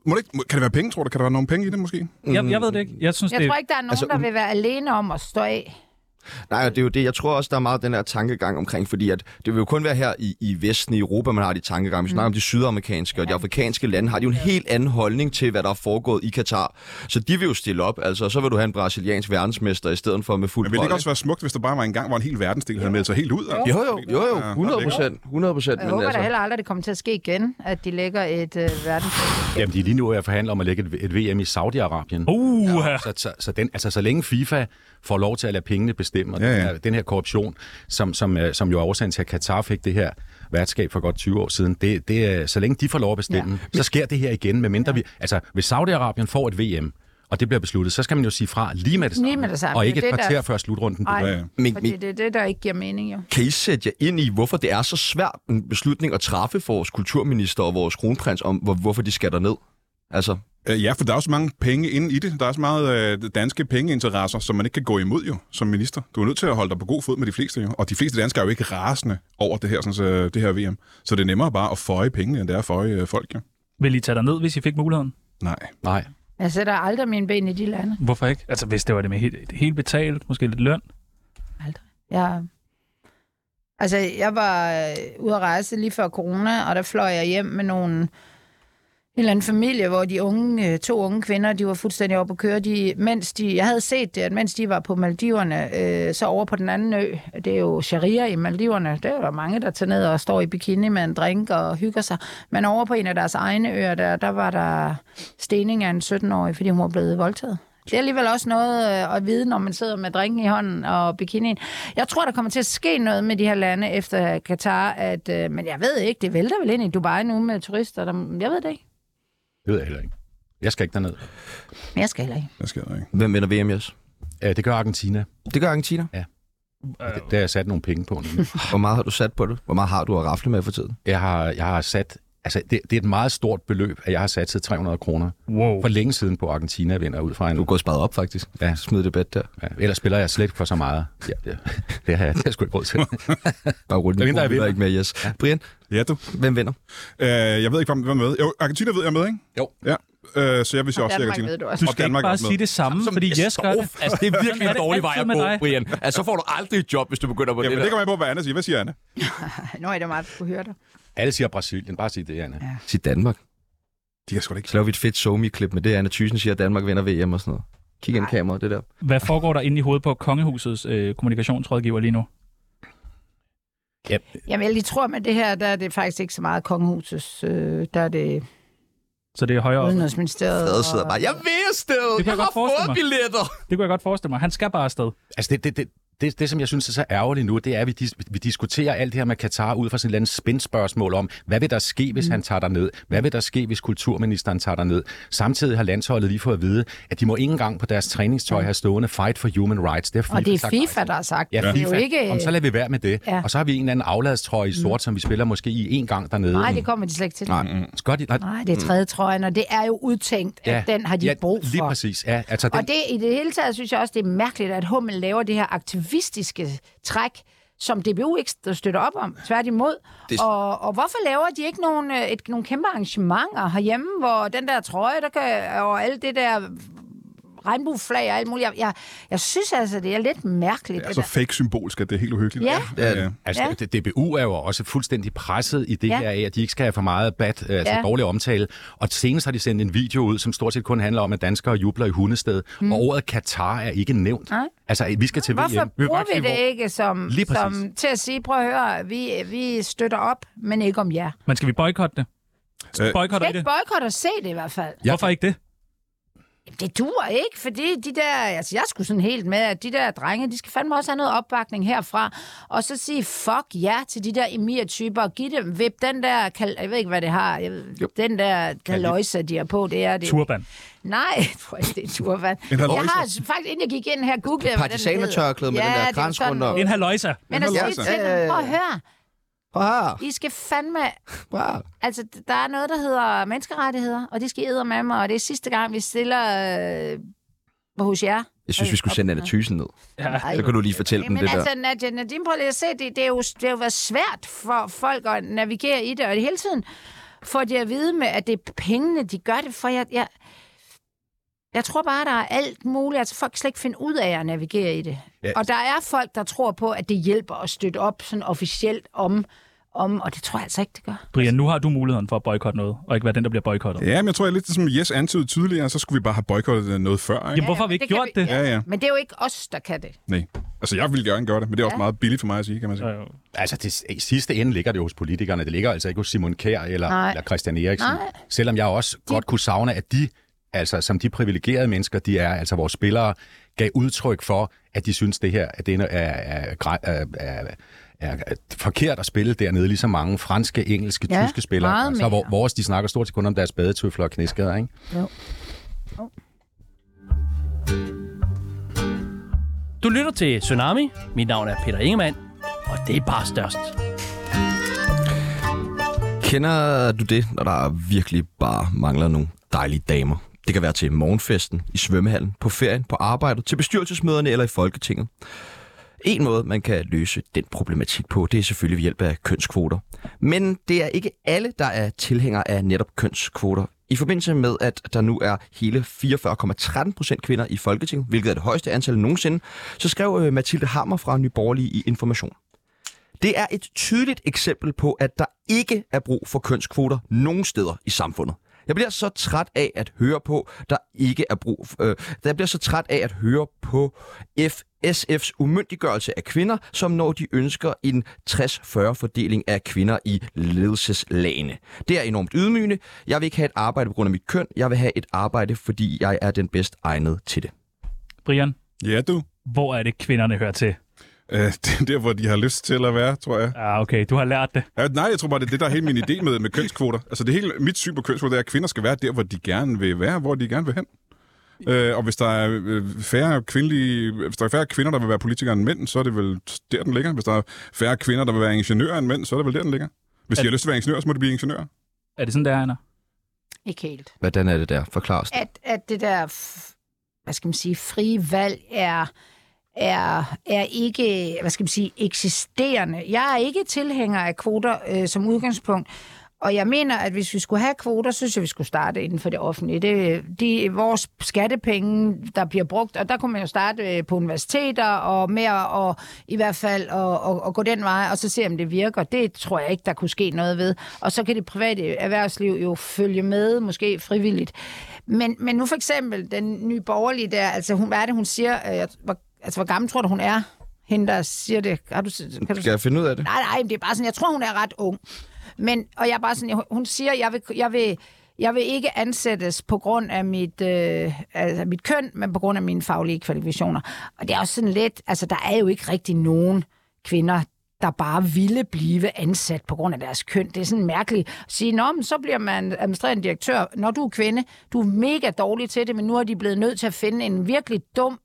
Speaker 3: Må det ikke, må- kan det være penge, tror du? Kan der være nogle penge i det, måske?
Speaker 2: Jeg, jeg ved det ikke. Jeg synes,
Speaker 4: Jeg
Speaker 2: det
Speaker 4: tror ikke, der er nogen,
Speaker 1: altså,
Speaker 4: altså, der vil være alene om at stå af.
Speaker 1: Nej, og det er jo det. Jeg tror også, der er meget den her tankegang omkring, fordi at det vil jo kun være her i, i Vesten, i Europa, man har de tankegang. Vi snakker om de sydamerikanske og de afrikanske lande, har de jo en helt anden holdning til, hvad der er foregået i Katar. Så de vil jo stille op, altså, og så vil du have en brasiliansk verdensmester i stedet for med fuld
Speaker 3: Men ville det ikke
Speaker 1: bolle.
Speaker 3: også være smukt, hvis der bare var en gang, hvor en hel verdensdel havde meldt sig helt ud? Altså?
Speaker 1: Jo, jo, jo, jo,
Speaker 3: Ja,
Speaker 1: 100 procent, 100 procent. altså-
Speaker 4: Jeg håber da heller aldrig, det kommer til at ske igen, at de lægger et øh, verdens...
Speaker 5: Jamen, de er lige nu jeg forhandler om at lægge et, et VM i Saudi-Arabien.
Speaker 2: Uh,
Speaker 5: Så, så, så, den, altså, så længe FIFA får lov til at lade pengene bestemme, og
Speaker 3: Ja, ja.
Speaker 5: ja, ja. Den, her, den her korruption, som, som, øh, som jo er årsagen til, at Katar fik det her værtskab for godt 20 år siden, det, det, er- så længe de får lov at bestemme, ja. så sker det her igen, med mindre ja. vi... Altså, hvis Saudi-Arabien får et VM, og det bliver besluttet, så skal man jo sige fra lige med det samme,
Speaker 4: Lige med det samme.
Speaker 5: og
Speaker 4: Det
Speaker 5: ikke
Speaker 4: er
Speaker 5: et
Speaker 4: det, der-
Speaker 5: kvarter før slutrunden.
Speaker 4: Ej,
Speaker 3: Ja, ja.
Speaker 1: Men-
Speaker 4: fordi
Speaker 1: men-
Speaker 4: det er det, der ikke giver mening, jo.
Speaker 1: Kan I sætte jer ind i, hvorfor det er så svært en beslutning at træffe for vores kulturminister og vores kronprins om, hvor, hvorfor de skal ned? Altså,
Speaker 3: Øh, Ja, for der er også mange penge inde i det. Der er også meget øh, danske pengeinteresser, som man ikke kan gå imod jo som minister. Du er nødt til at holde dig på god fod med de fleste jo. Og de fleste danskere er jo ikke rasende over det her, sådan, så, øh, det her VM. Så det er nemmere bare at føje pengene, end det er at føje øh, folk jo.
Speaker 2: vil I tage dig ned, hvis I fik muligheden?
Speaker 3: Nej.
Speaker 5: Nej.
Speaker 4: Jeg sætter aldrig mine ben i de lande.
Speaker 2: Hvorfor ikke? Altså, hvis det var det med helt, helt betalt, måske lidt løn.
Speaker 4: Jeg, altså, jeg var øh, ude at rejse lige før corona, og der fløj jeg hjem med nogle en eller anden familie, hvor de unge, øh, to unge kvinder, de var fuldstændig oppe at køre. De, mens de, jeg havde set det, at mens de var på Maldiverne, øh, så over på den anden ø, det er jo sharia i Maldiverne, der er jo der mange, der tager ned og står i bikini med en drink og hygger sig. Men over på en af deres egne øer, der, der var der stening af en 17-årig, fordi hun var blevet voldtaget. Det er alligevel også noget øh, at vide, når man sidder med drinken i hånden og bikinien. Jeg tror, der kommer til at ske noget med de her lande efter Katar, at, øh, men jeg ved ikke, det vælter vel ind i Dubai nu med turister. Der, jeg ved det ikke.
Speaker 5: Det ved jeg heller ikke. Jeg skal ikke derned.
Speaker 4: Men jeg skal heller ikke.
Speaker 3: Det sker der ikke.
Speaker 1: Hvem vinder VM, Jes?
Speaker 5: Øh, Det gør Argentina.
Speaker 1: Det gør Argentina.
Speaker 5: Og Det, det har jeg sat nogle penge på. nemlig.
Speaker 1: Hvor meget har du sat på det? Hvor meget har du at rafle med for tiden?
Speaker 5: Jeg har, jeg har sat... Altså, det, det er et meget stort beløb, at jeg har sat til 300 kroner
Speaker 2: Wow.
Speaker 5: for længe siden på Argentina vinder ud fra en...
Speaker 1: Du går sparet op, faktisk.
Speaker 5: Ja.
Speaker 1: Smid det bed der.
Speaker 5: Ja, ellers spiller jeg slet ikke for så meget. Ja, det, det har jeg, det har jeg sgu ikke råd til.
Speaker 1: Bare rundt
Speaker 5: Hvem der
Speaker 1: mikrofonen,
Speaker 5: vinder?
Speaker 1: ikke mere, Jes. Brian,
Speaker 3: Ja, du.
Speaker 1: hvem vinder?
Speaker 3: Øh, jeg ved ikke, hvem hvem er med. Jo, Argentina ved jeg er med, ikke?
Speaker 5: Jo.
Speaker 3: Ja. Øh, så jeg vil sige også, at
Speaker 4: Danmark
Speaker 3: Argentina.
Speaker 4: ved du også.
Speaker 2: Du
Speaker 3: Og
Speaker 2: skal
Speaker 3: Danmark
Speaker 2: ikke
Speaker 3: er
Speaker 2: bare
Speaker 3: også med.
Speaker 2: sige det samme, fordi Jes gør det.
Speaker 1: Altså, det er virkelig
Speaker 2: Sådan er det altid med dig.
Speaker 1: Brian. Altså, så får du aldrig et job, hvis du begynder på
Speaker 3: Jamen, det kommer jeg på, hvad Anna siger. Hvad siger Anna?
Speaker 4: Nå er det meget, du kunne høre dig.
Speaker 5: Alle siger Brasilien. Bare sig det, Anna.
Speaker 1: Sig Danmark.
Speaker 3: De kan sgu da ikke.
Speaker 1: Så laver vi et fedt somi-klip med det, Anna Thyssen siger, at Danmark vinder VM og sådan noget. Kig ind i kameraet, det der.
Speaker 2: Hvad foregår der inde i hovedet på kongehusets øh, kommunikationsrådgiver lige nu?
Speaker 4: Jamen, jeg lige tror, med det her, der er det faktisk ikke så meget kongehusets. Øh, der er det
Speaker 2: Så det er højere op.
Speaker 4: Udenrigsministeriet.
Speaker 1: Fred sidder bare, jeg vil afsted!
Speaker 2: Det kan jeg
Speaker 1: Jeg
Speaker 2: godt
Speaker 1: har
Speaker 2: forestille
Speaker 1: fået
Speaker 2: mig."
Speaker 1: billetter!
Speaker 2: Det kunne jeg godt forestille mig. Han skal bare afsted.
Speaker 5: Altså, det, det, det, det, det, som jeg synes er så ærgerligt nu, det er, at vi, dis- vi diskuterer alt det her med Katar ud fra sådan et eller andet spændspørgsmål om, hvad vil der ske, hvis mm. han tager derned? Hvad vil der ske, hvis kulturministeren tager derned? Samtidig har landsholdet lige fået at vide, at de må ikke engang på deres træningstøj have stående Fight for Human Rights. Det har
Speaker 4: Og det er
Speaker 5: sagt nej
Speaker 4: FIFA,
Speaker 5: til.
Speaker 4: der har sagt.
Speaker 5: Ja,
Speaker 4: det.
Speaker 5: FIFA.
Speaker 4: Det er jo ikke...
Speaker 5: Om, så lader vi være med det.
Speaker 4: Ja.
Speaker 5: Ja. Og så har vi en eller anden afladstrøje i sort, mm. som vi spiller måske i en gang dernede.
Speaker 4: Nej, det kommer de slet ikke til.
Speaker 1: Nej.
Speaker 5: Gør de, nej, Mm.
Speaker 4: Nej, det er tredje trøjen, og det er jo udtænkt, at den har de
Speaker 5: ja,
Speaker 4: brug for.
Speaker 5: Lige præcis. Ja, altså, den,
Speaker 4: Og det, i det hele taget synes jeg også, det er mærkeligt, at Hummel laver det her aktivistiske træk, som DBU ikke st- støtter op om, tværtimod. Det...
Speaker 1: Det-
Speaker 4: Og, og hvorfor laver de ikke nogle, øh, et, nogle kæmpe arrangementer herhjemme, hvor den der trøje, der kan, og alt det der regnbueflag og alt muligt. Jeg, jeg, jeg synes altså, det er lidt mærkeligt. Altså,
Speaker 3: Det er
Speaker 4: det
Speaker 3: så
Speaker 4: der.
Speaker 3: fake symbolsk, at det er helt uhyggeligt.
Speaker 4: Ja.
Speaker 1: Det er det.
Speaker 5: Altså,
Speaker 4: Ja.
Speaker 5: ja. DBU er jo også fuldstændig presset i det
Speaker 4: Ja.
Speaker 5: ja. her af, at de ikke skal have for meget bad, øh, altså
Speaker 4: Ja.
Speaker 5: ja. dårlig omtale. Og senest har de sendt en video ud, som stort set kun handler om, at danskere jubler i hundested. Mm. Og ordet Katar er ikke nævnt.
Speaker 4: Nej.
Speaker 5: Altså, vi skal til VM.
Speaker 4: Hvorfor
Speaker 5: vil
Speaker 4: bruger
Speaker 5: bare sige,
Speaker 4: vi det
Speaker 5: hvor-
Speaker 4: ikke som,
Speaker 5: Lige præcis.
Speaker 4: som til at sige, prøv at høre, vi, vi støtter op, men ikke om jer.
Speaker 2: Men skal vi boykotte det?
Speaker 3: Øh,
Speaker 2: Boykotter
Speaker 4: Kan
Speaker 2: I
Speaker 4: ikke
Speaker 2: det?
Speaker 4: boykotte og se det i hvert fald.
Speaker 5: Ja.
Speaker 2: Hvorfor ikke det?
Speaker 4: Det dur ikke, fordi de der, altså jeg skulle sådan helt med, at de der drenge, de skal fandme også have noget opbakning herfra, og så sige fuck ja til de der emir-typer, og give dem, vip den der, kal- jeg ved ikke, hvad det har, jeg, ved- den der kaløjse, de har på, det er det.
Speaker 2: Turban.
Speaker 4: Nej, jeg tror ikke, det er turban.
Speaker 3: En
Speaker 4: Jeg
Speaker 3: kaløjse.
Speaker 4: har altså faktisk, inden jeg gik ind her, googlede jeg, hvad den hed.
Speaker 1: Partisanertørklæde med den der
Speaker 4: det er
Speaker 1: krans
Speaker 4: sådan
Speaker 1: rundt om.
Speaker 4: noget.
Speaker 2: En haløjsa.
Speaker 4: Men at sige
Speaker 1: kaløjse.
Speaker 4: til
Speaker 1: Ja, ja,
Speaker 4: dem,
Speaker 1: ja.
Speaker 4: prøv at høre,
Speaker 1: Wow.
Speaker 4: I skal fandme
Speaker 1: Wow.
Speaker 4: Altså, der er noget, der hedder menneskerettigheder, og det skal æde med mig, og det er sidste gang, vi stiller øh, hos jer.
Speaker 1: Jeg synes, vi skulle sende Anna Thyssen ned.
Speaker 4: Ej.
Speaker 1: Så kan du lige fortælle dem
Speaker 4: Men
Speaker 1: det der.
Speaker 4: altså, Nadia Nadim, prøv lige at se, det, det, er jo, det har jo været svært for folk at navigere i det, og hele tiden får de at vide med, at det er pengene, de gør det for. Jeg, jeg, jeg tror bare, der er alt muligt. Altså, folk kan slet ikke finde ud af at navigere i det. Ja. Og der er folk, der tror på, at det hjælper at støtte op sådan officielt om, om og det tror jeg altså ikke, det gør.
Speaker 2: Brian, nu har du muligheden for at boykotte noget, og ikke være den, der bliver boykottet.
Speaker 3: Ja, men jeg tror, jeg er lidt som Jes antydede tidligere, så skulle vi bare have boykottet øh, noget før, ikke?
Speaker 2: Jamen, hvorfor har vi ikke
Speaker 4: det kan
Speaker 2: gjort
Speaker 4: vi-
Speaker 2: det?
Speaker 3: Ja, ja.
Speaker 4: Men det er jo ikke os, der kan det.
Speaker 3: Nej. Altså, jeg ville gerne gøre det, men det er også meget billigt for mig at sige, kan man sige.
Speaker 2: Øh,
Speaker 5: Altså, det, i sidste ende ligger det jo hos politikerne. Det ligger altså ikke hos Simon Kjær eller,
Speaker 4: Nej.
Speaker 5: eller Christian Eriksen.
Speaker 4: Nej.
Speaker 5: Selvom jeg også godt kunne savne, at de, altså som de privilegerede mennesker, de er, altså vores spillere, gav udtryk for, at de synes, det her at det er, er, er, er, er, er forkert at spille dernede, ligesom mange franske, engelske,
Speaker 4: Ja,
Speaker 5: ja, tyske spillere.
Speaker 4: meget
Speaker 5: Altså, hvor,
Speaker 4: mere.
Speaker 5: vores, de snakker stort set kun om deres badetøfler og knæskader, ikke?
Speaker 8: Du lytter til Tsunami. Mit navn er Peter Ingemann, og det er bare størst.
Speaker 1: Kender du det, når der virkelig bare mangler nogle dejlige damer? Det kan være til morgenfesten, i svømmehallen, på ferien, på arbejdet, til bestyrelsesmøderne eller i Folketinget. En måde, man kan løse den problematik på, det er selvfølgelig ved hjælp af kønskvoter. Men det er ikke alle, der er tilhængere af netop kønskvoter. I forbindelse med, at der nu er hele 44,13 procent kvinder i Folketinget, hvilket er det højeste antal nogensinde, så skrev øh, Mathilde Hammer fra Nye Borgerlige i Information. Det er et tydeligt eksempel på, at der ikke er brug for kønskvoter nogen steder i samfundet. Jeg bliver så træt af at høre på, der ikke er brug f- øh, der bliver så træt af at høre på F SF's umyndiggørelse af kvinder, som når de ønsker en 60-40 fordeling af kvinder i ledelseslagene. Det er enormt ydmygende. Jeg vil ikke have et arbejde på grund af mit køn. Jeg vil have et arbejde, fordi jeg er den bedst egnet til det.
Speaker 2: Brian,
Speaker 3: Ja, du.
Speaker 2: hvor er det, kvinderne hører til?
Speaker 3: Øh, det er der, hvor de har lyst til at være, tror jeg.
Speaker 2: Ah, okay, du har lært det.
Speaker 3: Ja, nej, jeg tror bare, det er det, der er hele min idé med, med kønskvoter. Altså, det hele, mit syn på kønskvoter er, at kvinder skal være der, hvor de gerne vil være, hvor de gerne vil hen. Øh, og hvis der, er øh, færre kvindelige, hvis der er færre kvinder, der vil være politikere end mænd, så er det vel der, den ligger. Hvis der er færre kvinder, der vil være ingeniører end mænd, så er det vel der, den ligger. Hvis de har lyst til at være ingeniører, så må de blive ingeniører.
Speaker 2: Er det sådan, der, Anna?
Speaker 4: Ikke helt.
Speaker 1: Hvordan er det der? Forklar os det.
Speaker 4: At, at det der, f- hvad skal man sige, frie valg er, er, er ikke, hvad skal man sige, eksisterende. Jeg er ikke tilhænger af kvoter øh, som udgangspunkt, og jeg mener, at hvis vi skulle have kvoter, så synes jeg, vi skulle starte inden for det offentlige. Det, de, vores skattepenge, der bliver brugt, og der kunne man jo starte øh, på universiteter og mere, og i hvert fald og, og, og gå den vej, og så se, om det virker. Det tror jeg ikke, der kunne ske noget ved. Og så kan det private erhvervsliv jo følge med, måske frivilligt. Men, men nu for eksempel den nye borgerlige der, altså hun, hvad er det, hun siger? Øh, jeg- hvor, altså, hvor gammel tror du, hun er? Hende, der siger det. Har du, kan du
Speaker 1: Skal jeg finde ud af det?
Speaker 4: Nej, nej, men det er bare sådan, jeg tror, hun er ret ung. Men, og jeg er bare sådan, jeg- hun siger, jeg vil, jeg vil, jeg vil ikke ansættes på grund af mit, øh, altså mit køn, men på grund af mine faglige kvalifikationer. Og det er også sådan lidt, altså der er jo ikke rigtig nogen kvinder, der bare ville blive ansat på grund af deres køn. Det er sådan mærkeligt at sige, Nå, men så bliver man administrerende direktør, når du er kvinde. Du er mega dårlig til det, men nu er de blevet nødt til at finde en virkelig dum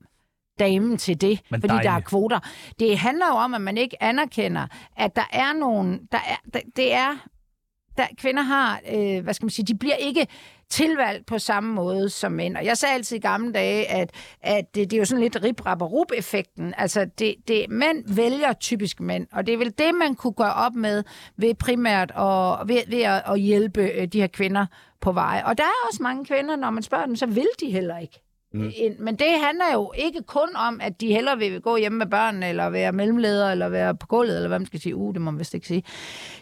Speaker 4: damen til det,
Speaker 2: Men
Speaker 4: men fordi der er
Speaker 2: dejlig.
Speaker 4: kvoter. Det handler jo om, at man ikke anerkender, at der er nogen, der er, der, det er, der, kvinder har, øh, hvad skal man sige, de bliver ikke tilvalgt på samme måde som mænd. Og jeg sagde altid i gamle dage, at, at det, det er jo sådan lidt rip rap og rup effekten Altså, det, det, mænd vælger typisk mænd, og det er vel det, man kunne gøre op med ved primært og, ved, ved at, at hjælpe øh, de her kvinder på vej. Og der er også mange kvinder, når man spørger dem, så vil de heller ikke. Mm. Men det handler jo ikke kun om, at de hellere vil gå hjemme med børn, eller være mellemleder, eller være på gulvet, eller hvad man skal sige. Uh, det må man vist ikke sige.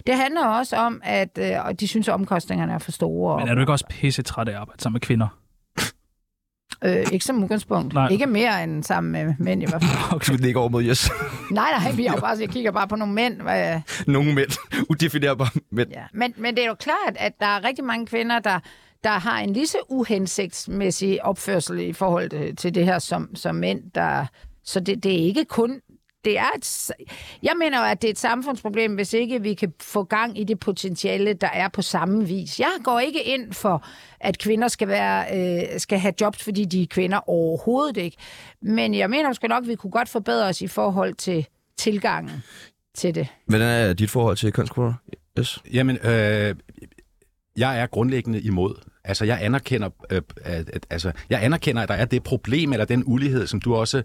Speaker 4: Det handler også om, at øh, og de synes, at omkostningerne er for store.
Speaker 2: Men er du ikke også pisse træt af at arbejde sammen med kvinder?
Speaker 4: Og, øh, ikke som udgangspunkt.
Speaker 2: Nej.
Speaker 4: Nej. Ikke mere end sammen med mænd i hvert fald.
Speaker 1: Okay. Det ligger over mod yes.
Speaker 4: nej, nej, vi er jo bare, jeg kigger bare på nogle mænd. Hvad,
Speaker 1: Nogle mænd. Udefinerbare mænd.
Speaker 4: Ja. Men, men det er jo klart, at der er rigtig mange kvinder, der, der har en lige så uhensigtsmæssig opførsel i forhold til- til det her som, som mænd. Der, så det, det er ikke kun... Det er et, s- jeg mener jo, at det er et samfundsproblem, hvis ikke vi kan få gang i det potentiale, der er på samme vis. Jeg går ikke ind for, at kvinder skal, være, øh, skal have jobs, fordi de er kvinder overhovedet ikke. Men jeg mener måske nok, at vi kunne godt forbedre os i forhold til tilgangen til det.
Speaker 1: Hvordan er dit forhold til kønskvoter? Yes.
Speaker 5: Jamen, øh, jeg er grundlæggende imod. Altså, jeg anerkender, øh, at, at, altså, jeg anerkender, at der er det problem eller den ulighed, som du også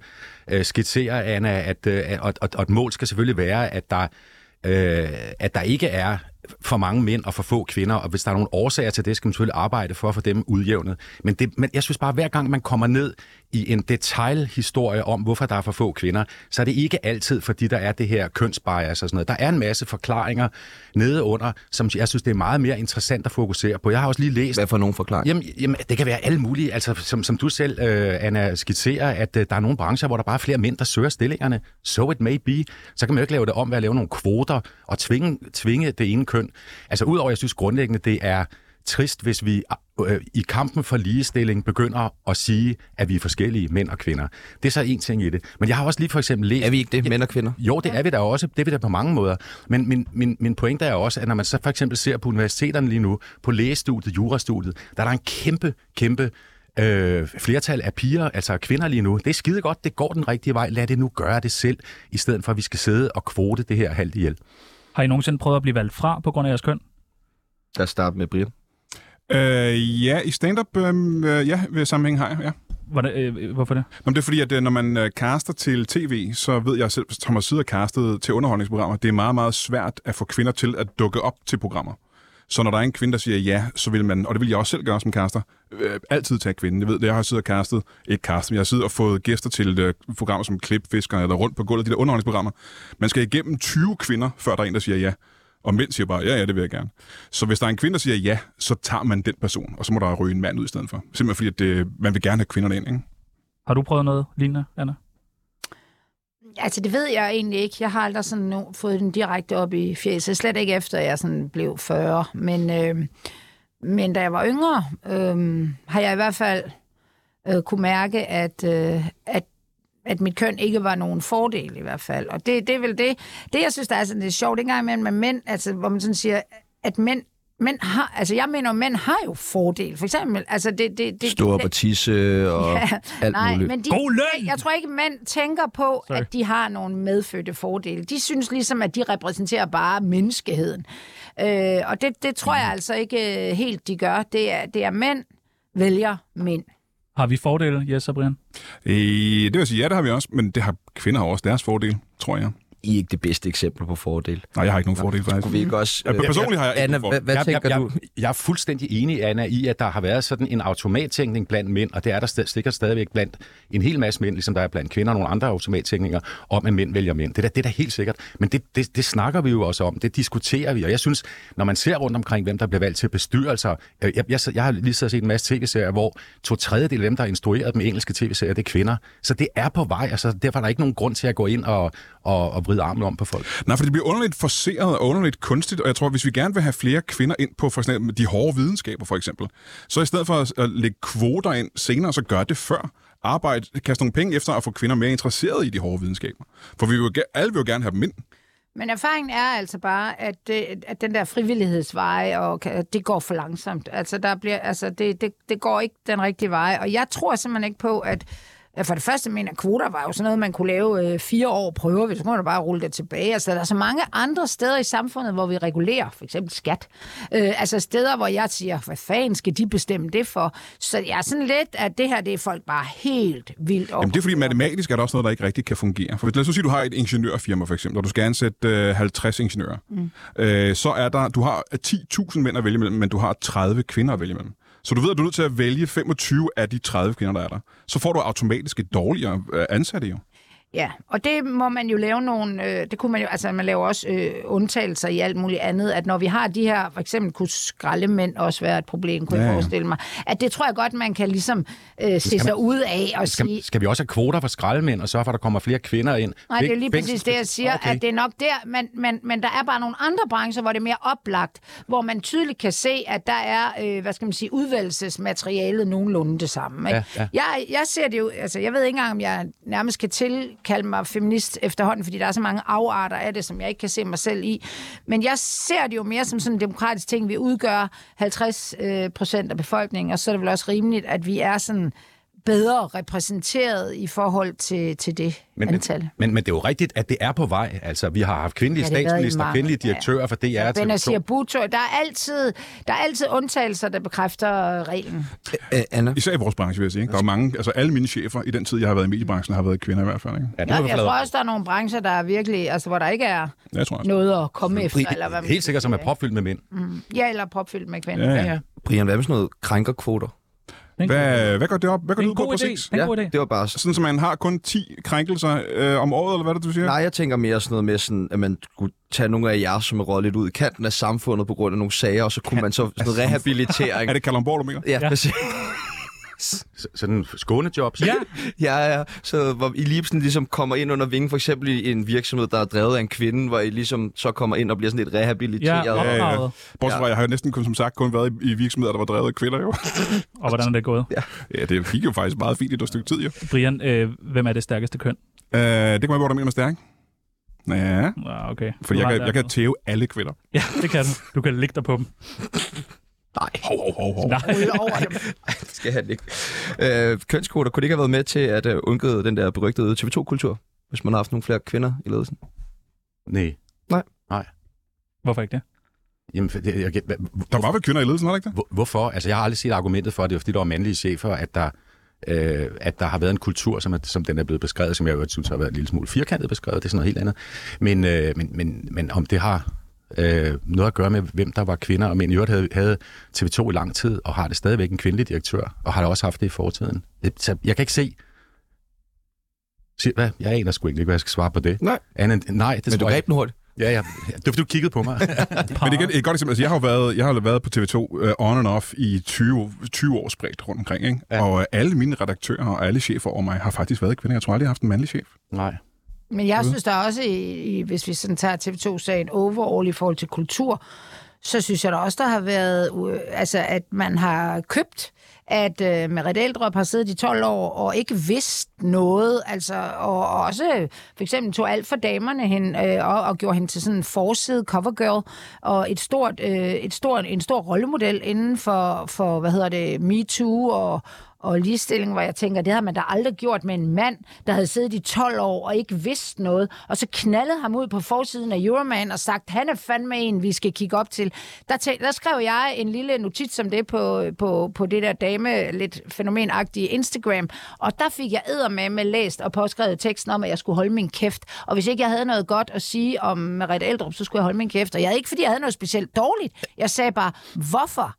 Speaker 5: øh, skitserer, Anna, at, øh, at, og, og et mål skal selvfølgelig være, at der, øh, at der ikke er for mange mænd og for få kvinder, og hvis der er nogle årsager til det, skal man selvfølgelig arbejde for at få dem udjævnet. Men, det, men jeg synes bare, at hver gang man kommer ned i en detailhistorie om, hvorfor der er for få kvinder, så er det ikke altid, fordi der er det her kønsbias og sådan noget. Der er en masse forklaringer nede under, som jeg synes, det er meget mere interessant at fokusere på. Jeg har også lige læst...
Speaker 1: Hvad for nogle forklaringer?
Speaker 5: Jamen, jamen, det kan være alle mulige. Altså, som, som du selv, øh, Anna, skitserer, at øh, der er nogle brancher, hvor der bare er flere mænd, der søger stillingerne. So it may be. Så kan man jo ikke lave det om ved at lave nogle kvoter og tvinge, tvinge det ene køn. Altså, udover, jeg synes grundlæggende, det er trist, hvis vi øh, i kampen for ligestilling begynder at sige, at vi er forskellige mænd og kvinder. Det er så en ting i det. Men jeg har også lige for eksempel læst...
Speaker 1: Er vi ikke det, mænd og kvinder?
Speaker 5: Jo, det er vi da også. Det er vi da på mange måder. Men min, min, min pointe er også, at når man så for eksempel ser på universiteterne lige nu, på lægestudiet, jurastudiet, der er der en kæmpe, kæmpe øh, flertal af piger, altså af kvinder lige nu. Det er skide godt, det går den rigtige vej. Lad det nu gøre det selv, i stedet for at vi skal sidde og kvote det her halvt ihjel.
Speaker 2: Har I nogensinde prøvet at blive valgt fra på grund af jeres køn?
Speaker 1: Lad os starte med Brian.
Speaker 3: Øh, ja, i stand-up, øh, øh, ja, ved sammenhæng har jeg, ja.
Speaker 2: Hvordan, øh, hvorfor det?
Speaker 3: Nå, men det er fordi, at øh, når man øh, caster til tv, så ved jeg selv, som har siddet og castet til underholdningsprogrammer, det er meget, meget svært at få kvinder til at dukke op til programmer. Så når der er en kvinde, der siger ja, så vil man, og det vil jeg også selv gøre som caster, øh, altid tage kvinden. Jeg ved det, jeg har siddet og castet, ikke castet, men jeg har siddet og fået gæster til øh, programmer som Klipfiskerne eller Rundt på gulvet, de der underholdningsprogrammer. Man skal igennem 20 kvinder, før der er en, der siger ja. Og mænd siger bare, ja, ja, det vil jeg gerne. Så hvis der er en kvinde, der siger ja, så tager man den person, og så må der ryge en mand ud i stedet for. Simpelthen fordi, at det, man vil gerne have kvinderne ind, ikke?
Speaker 2: Har du prøvet noget lignende, Anna?
Speaker 4: Altså, det ved jeg egentlig ikke. Jeg har aldrig sådan no, fået den direkte op i fjeset. Slet ikke efter, jeg sådan blev 40. Men, øh, men da jeg var yngre, øh, har jeg i hvert fald øh, kunne mærke, at, øh, at at mit køn ikke var nogen fordel i hvert fald. Og det, det er vel det. Det, jeg synes, der er sådan lidt sjovt, dengang imellem med mænd, altså, hvor man sådan siger, at mænd, mænd har, altså jeg mener, mænd har jo fordel. For eksempel, altså det... det, det
Speaker 1: Stå op og tisse og ja, alt
Speaker 4: Nej,
Speaker 1: muligt.
Speaker 4: men de,
Speaker 2: God løn!
Speaker 4: Jeg tror ikke, mænd tænker på, Sorry. at de har nogle medfødte fordele. De synes ligesom, at de repræsenterer bare menneskeheden. Øh, og det, det tror jeg altså ikke øh, helt, de gør. Det er, det er mænd vælger mænd.
Speaker 2: Har vi fordele, Jes og Brian?
Speaker 3: Øh, det vil sige, ja, det har vi også, men det har kvinder har også deres fordel, tror jeg.
Speaker 1: I er ikke det bedste eksempel på fordel.
Speaker 3: Nej, jeg har ikke nogen fordel, faktisk.
Speaker 1: Kunne vi ikke også...
Speaker 3: Ja,
Speaker 1: øh,
Speaker 3: personligt har jeg ikke
Speaker 1: Anna,
Speaker 3: nogen
Speaker 1: hvad,
Speaker 3: fordel.
Speaker 1: hvad
Speaker 5: jeg,
Speaker 1: tænker
Speaker 5: jeg,
Speaker 1: du?
Speaker 5: Jeg, jeg er fuldstændig enig, Anna, i, at der har været sådan en automattænkning blandt mænd, og det er der sted, sikkert stadigvæk blandt en hel masse mænd, ligesom der er blandt kvinder og nogle andre automattænkninger, om at mænd vælger mænd. Det er da, det er da helt sikkert. Men det, det, det snakker vi jo også om, det diskuterer vi, og jeg synes, når man ser rundt omkring, hvem der bliver valgt til bestyrelser, øh, jeg, jeg, jeg har lige siddet og set en masse tv-serier, hvor to tredjedel af dem, der har instrueret dem i engelske tv-serier, det er kvinder. Så det er på vej, altså derfor er der ikke nogen grund til at gå ind og, og, og vride armen om på folk.
Speaker 3: Nej, for det bliver underligt forceret og underligt kunstigt, og jeg tror, hvis vi gerne vil have flere kvinder ind på for eksempel de hårde videnskaber, for eksempel, så i stedet for at- at lægge kvoter ind senere, så gør det før. Arbejde, kaste nogle penge efter at få kvinder mere interesseret i de hårde videnskaber. For vi vil jo, ge- alle vil jo gerne have dem ind.
Speaker 4: Men erfaringen er altså bare, at, det, at den der frivillighedsveje, og, ka- det går for langsomt. Altså, der bliver, altså det, det, det går ikke den rigtige vej. Og jeg tror simpelthen ikke på, at... ja, For det første, mener jeg, kvoter var jo sådan noget, man kunne lave øh, fire år prøver, hvis man bare rulle det tilbage. Altså, der er så mange andre steder i samfundet, hvor vi regulerer, for eksempel skat. Øh, altså steder, hvor jeg siger, hvad fanden skal de bestemme det for? Så jeg er sådan lidt, at det her, det er folk bare helt vildt over.
Speaker 3: Jamen, det er fordi matematisk er der også noget, der ikke rigtig kan fungere. For hvis- lad os nu sige, du har et ingeniørfirma, for eksempel, og du skal ansætte øh, 50 ingeniører. Mm. Øh, så er der, du har 10.000 mænd at vælge mellem, men du har 30 kvinder at vælge mellem. Så du ved, at du er nødt til at vælge 25 af de 30 kvinder, der er der. Så får du automatisk et dårligere øh, ansatte jo.
Speaker 4: Ja, og det må man jo lave nogle, øh, det kunne man jo, altså man laver også øh, undtagelser i alt muligt andet, at når vi har de her, for eksempel kunne skraldemænd også være et problem, kunne ja,
Speaker 3: Ja,
Speaker 4: jeg
Speaker 3: ja.
Speaker 4: forestille mig, at det tror jeg godt, man kan ligesom øh, se sig ud af og sige,
Speaker 5: Skal, skal vi også have kvoter for skraldemænd og sørge for, at der kommer flere kvinder ind?
Speaker 4: Nej, det er lige
Speaker 5: Fængsels-
Speaker 4: præcis det, jeg siger, okay. at det er nok der, men, men, men der er bare nogle andre brancher, hvor det er mere oplagt, hvor man tydeligt kan se, at der er, øh, hvad skal man sige, udvalgelsesmaterialet nogenlunde det samme. Ikke?
Speaker 5: Ja, ja.
Speaker 4: Jeg, jeg ser det jo, altså jeg ved ikke engang, om jeg nærmest kan tilkalde mig feminist efterhånden, fordi der er så mange afarter af det, som jeg ikke kan se mig selv i, men jeg ser det jo mere som sådan en demokratisk ting, vi udgør 50 øh, procent af befolkningen, og så er det vel også rimeligt, at vi er sådan bedre repræsenteret i forhold til, til det
Speaker 5: Men,
Speaker 4: antal.
Speaker 5: men, men, men det er jo rigtigt, at det er på vej. Altså, vi har haft kvindelige
Speaker 4: Ja,
Speaker 5: ja,
Speaker 4: det har været i
Speaker 5: statsminister,
Speaker 4: mange-
Speaker 5: kvindelige direktører ja. for DR. Ja,
Speaker 4: Benazir Bhutto. Der er altid, der er altid undtagelser, der bekræfter øh, reglen.
Speaker 1: Æ, Anna?
Speaker 3: Især i vores branche, vil jeg sige. Ikke? Der er mange, altså alle mine chefer i den tid, jeg har været i mediebranchen, har været kvinder i hvert fald. Ikke?
Speaker 5: ja, det
Speaker 4: Jeg,
Speaker 5: er
Speaker 4: jeg tror
Speaker 5: jeg
Speaker 4: også, der er nogle brancher, der er virkelig, altså hvor der ikke er
Speaker 3: Ja, jeg tror også.
Speaker 4: noget at komme efter, eller hvad man
Speaker 5: Helt sikkert, som er
Speaker 4: siger,
Speaker 5: propfyldt med mænd.
Speaker 4: ikke? Ja, eller propfyldt med kvinder.
Speaker 3: Ja, ja.
Speaker 1: Brian, hvad med sådan noget krænkerkvoter?
Speaker 2: Den-
Speaker 3: Hvad, hvad går det op? Hvad går
Speaker 2: Det er
Speaker 3: det ud
Speaker 2: en
Speaker 3: på
Speaker 2: god idé.
Speaker 3: præcis?
Speaker 2: Det er en god idé.
Speaker 1: det var bare... s-
Speaker 3: Sådan, så man har kun 10 krænkelser øh, om året, eller hvad er det, du siger?
Speaker 1: Nej, jeg tænker mere sådan noget med, sådan, at man kunne tage nogle af jer, som er røget lidt ud i kanten af samfundet på grund af nogle sager, og så kunne man så sådan noget rehabilitering.
Speaker 3: Er det Kalamborg, du mener?
Speaker 1: Ja,
Speaker 2: Ja.
Speaker 1: ja. præcis.
Speaker 5: S- Sådan skånejobs.
Speaker 2: Ja,
Speaker 1: Ja, ja. Så hvor I lige sådan ligesom kommer ind under vingen, for eksempel i en virksomhed, der er drevet af en kvinde, hvor I ligesom så kommer ind og bliver sådan lidt rehabiliteret.
Speaker 2: ja,
Speaker 1: Ja, ja.
Speaker 2: opdraget.
Speaker 3: Bortset fra, jeg har jo næsten kun, som sagt kun været i, i virksomheder, der var drevet af kvinder jo.
Speaker 2: Og hvordan er det gået?
Speaker 3: ja, det gik jo faktisk meget fint i et stykke tid jo.
Speaker 2: Brian, øh, hvem er det stærkeste køn?
Speaker 3: Øh, det kan man hvor du mener med stærk. Ja,
Speaker 2: Ah, okay.
Speaker 3: for
Speaker 2: Du
Speaker 3: jeg
Speaker 2: har
Speaker 3: kan, jeg
Speaker 2: lært
Speaker 3: kan tæve alle kvinder.
Speaker 2: noget. Ja, det kan du. Du kan ligge dig på dem.
Speaker 1: Nej,
Speaker 3: Hov, hov, hov, hov.
Speaker 2: Nej.
Speaker 4: Rulle over dem.
Speaker 1: det skal han ikke. Øh, kønskoder, kunne det ikke have været med til at øh, undgå den der berygtede TV2-kultur, hvis man har haft nogle flere kvinder i ledelsen?
Speaker 5: Nej.
Speaker 2: Hvorfor ikke det?
Speaker 5: Jamen, for det, jeg, jeg,
Speaker 3: Der var vel kvinder i ledelsen, var der ikke det?
Speaker 5: hvor, hvorfor? Altså, jeg har aldrig set argumentet for, at det er fordi, der var mandlige chefer, at der, øh, at der har været en kultur, som, er, som den er blevet beskrevet, som jeg jo synes har været en lille smule firkantet beskrevet. Det er sådan noget helt andet. Men, øh, men, men, men om det har øh, noget at gøre med, hvem der var kvinder og mænd. I øvrigt havde, havde TV2 i lang tid, og har det stadigvæk en kvindelig direktør, og har det også haft det i fortiden. Det- Så jeg kan ikke se... Sig- Hvad? Jeg aner sgu egentlig ikke, hvad jeg skal svare på det.
Speaker 1: Nej.
Speaker 5: Andet, end- nej, det
Speaker 1: Men du
Speaker 5: tror jeg
Speaker 1: greb den hurtigt.
Speaker 5: Ja, ja. Det var, fordi du kiggede på mig.
Speaker 3: Men igen, et godt eksempel. Altså, jeg har jo været, jeg har været på TV2 uh, on and off i 20, 20 år spredt rundt omkring. Ikke? Ja. Og uh, alle mine redaktører og alle chefer over mig har faktisk været kvinder. Jeg tror aldrig, jeg har haft en mandlig chef.
Speaker 5: Nej.
Speaker 4: Men jeg synes der også, i, i, hvis vi sådan tager TV2-sagen overall i forhold til kultur, så synes jeg da også, der har været, øh, altså, at man har købt, at øh, Merit Eldrup har siddet i 12 år og ikke vidst noget, altså, og, og også øh, for eksempel tog alt for damerne hen øh, og, og gjorde hende til sådan en forside covergirl og et stort, øh, et stort, en stor rollemodel inden for, for hvad hedder det, Me Too og, og ligestilling, hvor jeg tænker, det havde man da aldrig gjort med en mand, der havde siddet i 12 år og ikke vidst noget, og så knaldede ham ud på forsiden af Euroman og sagt, han er fandme en, vi skal kigge op til. Der, tæ- der skrev jeg en lille notits om det på, på, på det der dame, lidt fænomenagtige Instagram, og der fik jeg æder med med læst og påskrevet teksten om, at jeg skulle holde min kæft, og hvis ikke jeg havde noget godt at sige om Merete Eldrup, så skulle jeg holde min kæft, og jeg havde ikke, fordi jeg havde noget specielt dårligt. Jeg sagde bare, hvorfor?